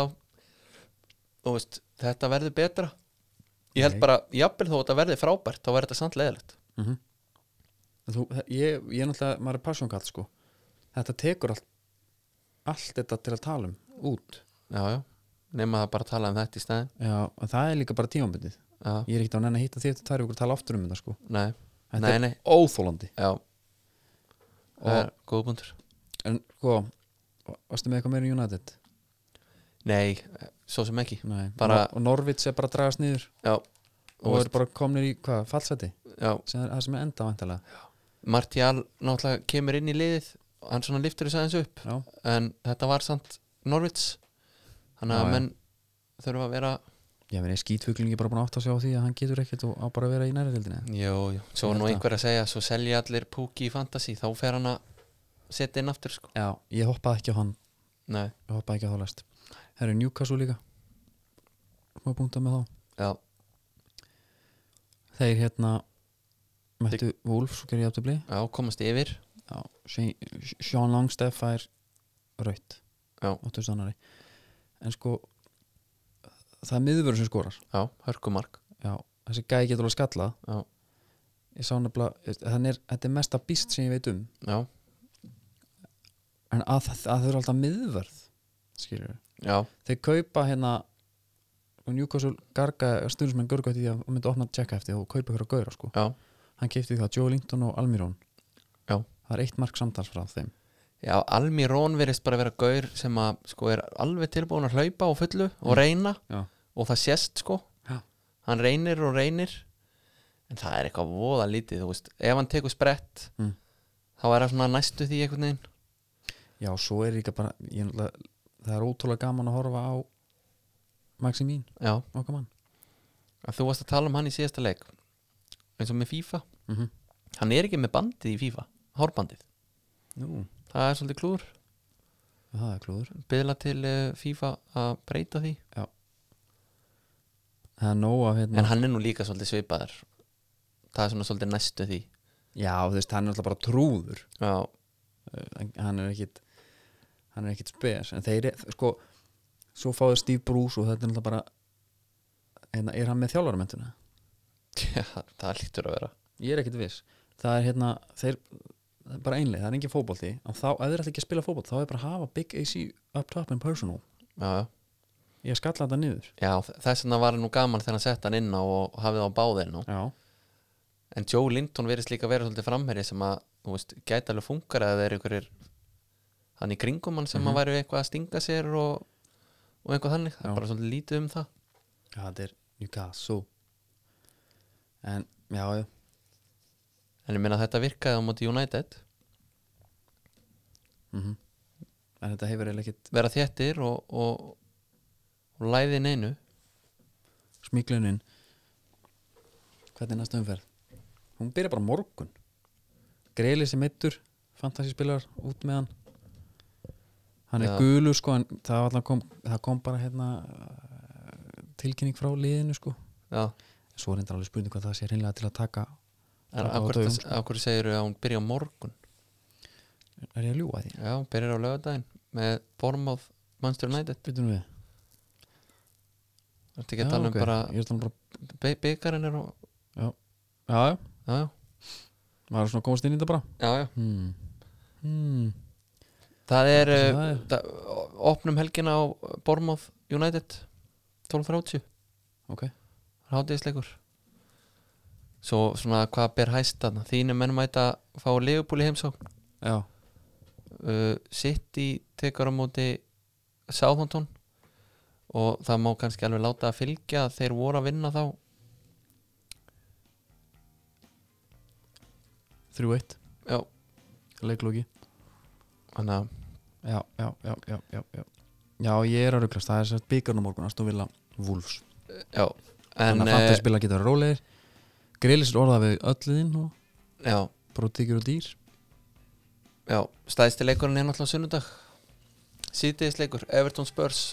þú veist, þetta verður betra ég held Nei. bara, jafnvel þó að þetta verði frábært þá verður þetta samt leðilegt mhm mm Þú, ég, ég er náttúrulega, maður er passjónkall sko Þetta tekur allt allt þetta til að tala um út já, já, nema það bara að tala um þetta í stæðin Já, og það er líka bara tímambundið já, Ég er ekkert á nenni að hitta því eftir tvær vikur að tala aftur um þetta sko nei, Þetta nei, er nei óþólandi Já Eh, Og- Það er góð búndur En sko, varstu með eitthvað meira en United? Nei, eh, svo sem ekki Nei, Bara- og Norvits er bara að dragast niður Já, og eru bara komnir í hvað, fallseti já sem er það sem er enda vantilega Martial náttúrulega kemur inn í liðið Hann svona liftur þess aðeins upp já, En þetta var samt Norvits Já, Þannig að já. menn þurfa að vera ég meina skítfuglingi bara búin að átta sig á því að hann getur ekkert og á bara að vera í nærrildinni Jó, jó Svo Ég var held nú það. einhver að segja Svo selja allir púki í fantasy Þá fer hann að setja inn aftur sko já, ég hoppaði ekki á hann Nei, ég hoppaði ekki á þá lest það eru Newcastle líka smá punktar með þá já, þeir hérna mættu Wolf, svo gerir ég aftur blí já, komast yfir já, Shane- Sean Longstaff fær raut Já. en sko það er miðvörður sem skorar Já, hörkumark já, þessi gæi getur alveg skallað Já, ég sá nefnilega, þú veist, hann er, þetta er mesta býst sem ég veit um já, en að, að þau eru alltaf miðvörð skilur við, já, þeir kaupa hérna og Newcastle garga stundismenn görgætti því að hann myndi opna að tjekka eftir og kaupa hverja gauðra sko, já hann keipti það Joe Linton og Almirón Já. það er eitt mark samtals frá þeim Já, Almirón virðist bara vera gaur sem að sko er alveg tilbúin að hlaupa á fullu og Mm. reyna Já. og það sést sko Já. hann reynir og reynir en það er eitthvað voða lítið þú veist, ef hann tekur sprett Mm. þá er það svona næstu því einhvern veginn já, svo er líka bara ég, náttúrulega- það er ótrúlega gaman að horfa á Maximín, Já, okkar mann að þú varst að tala um hann í síðasta leik eins og með FIFA mm -hmm. hann er ekki með bandið í FIFA, hárbandið Nú, það er svolítið klúður, það er klúður byðla til eh, FIFA að breyta því það er nóg af hérna en hann er nú líka svolítið svipaður það er svona svolítið næstu því já, þú veist, hann er alltaf bara trúður Já, Uh, hann- hann er ekkit hann er ekkit spes en þeir er, sko, svo fáðu Steve Bruce og þetta er náttúrulega bara hérna, er hann með þjálfarmynduna? Já, það lítur að vera Ég er ekkit viss það er hérna, þeir það er bara einlega, það er engin fótbolti og þá, ef þeir ætla ekki að spila fótbolt, þá er bara að hafa Big AC up top and personal Já, já. ég skalla þetta niður já þess vegna var nú gaman þegar hann sett hann inn á og hafið á báðin á. já, En Joe Linton verðist líka vera svolítið framherri sem að, þú veist, gæti alveg funkar að það er einhverjir hann í kringum hann sem Mhm. að væri eitthvað að stinga sér og, og eitthvað þannig, það Já. er bara svolítið lítið um það þetta er Newcastle en, já, já En ég meina að þetta virkaði á móti United mm en þetta hefur eiginlega ekkit vera þéttir og, og, og læðin einu smíklunin hvernig er næsta umferð hún byrja bara á morgun Greili sem eittur fantasyspilar út með hann hann Já. er gulu sko en það, var alltaf kom, það kom bara hérna eh, tilkynning frá liðinu sko já, svo er reyndar alveg spurning hvað það sé hreinlega til að taka en Taka á af hverju, dögum, það- af hverju segir að hún byrja á morgun er ég að ljúga því? já, hún byrjar á lögadaginn með Bormáð Manchester United Býtum við Þú ert ekki að tala um ok. bara Ég er að tala um bara be- byggarinn er á Já, já, já, já, maður er svona að komast inn í þetta bara já, já hmm. Hmm. Það er, Það uh, er- það opnum helgina á Bormoth United 12.30, Ok, hátíðisleikur Svo svona hvað ber hæst þarna, þínu menn mæta fá leifubúli heimsókn já, uh, City tekur á móti Southampton og það má kannski alveg láta að fylgja að þeir voru að vinna þá 3-1 Já, leiklóki þannig að já, já, já, já, já, já Já, ég er að rugglast, það er sérst byggarnum morgun Aston Villa Wolves já, en Þannig að uh, fattar spila geta rólegir Grillis er orðað við ölluðinn og já, brotíkir og dýr já, stæðsti leikurinn er náttúrulega á sunnudag síðdegisleikur, Everton Spurs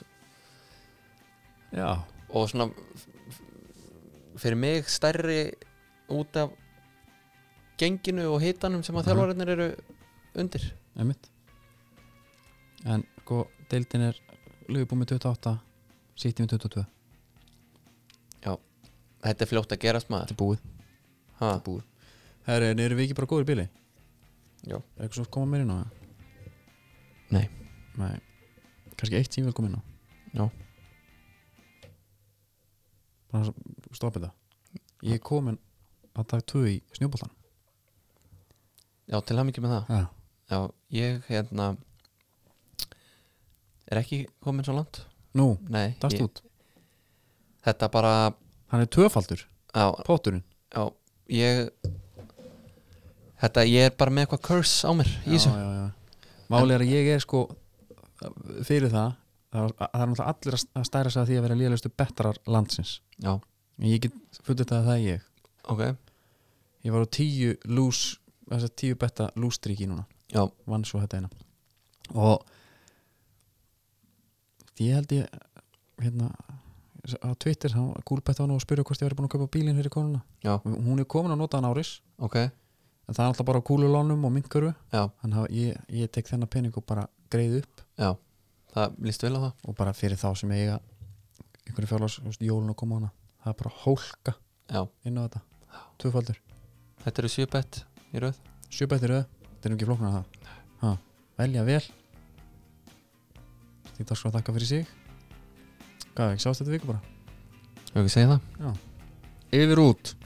Já, og svona f- f- fyrir mig stærri út af genginu og hitanum sem að Mhm. þjálfarinnir eru undir einmitt En sko, deildin er Lugubúið með 28, City með 22 þetta er fljótt að gerast maður Þetta er búið ha, Herri, en erum við ekki bara góður í bíli? Já. Er eitthvað sem koma meir inn á það? Nei. Nei Kannski eitt sem ég vil koma inn á Já. Bara stoppa þetta Ég er komin að dag 2 í snjóboltan já, til hann ekki með það Já já, ég hérna er ekki komin svo langt Nú, nei, dast ég, út þetta bara Hann er tvöfaldur, já, potturinn já, ég þetta, ég er bara með eitthvað curse á mér í þessu já, já, já. Máli er að ég er sko fyrir það það er það er náttúrulega allir að stæra sig að því að vera líðalustu bettarar landsins já, en ég get fullt þetta að það er ég ok, ég var á tíu lús þess að tíu betta lústríki núna já, vann svo þetta eina og ég held ég hérna á Twitter, hann gúlbætti á hann og spurði hvort ég væri búin að kaupa bílinn fyrir konuna Já. hún er komin að nota hann áris ok en það er alltaf bara á kúlulónum og minkaru já, þannig að ég, ég tek þennan pening og bara greið upp já, það líst vel á það og bara fyrir þá sem eiga einhverju fjárlás, jólun og koma hana það er bara hólka já, inn á þetta tvöfaldur, Þetta eru sjöbett í röð sjöbættir öð þetta er nú ekki flóknar það ha, velja vel því það sko að þakka fyrir sig hvað, ekki sást þetta viku bara Hefur ekki segið það? yfir út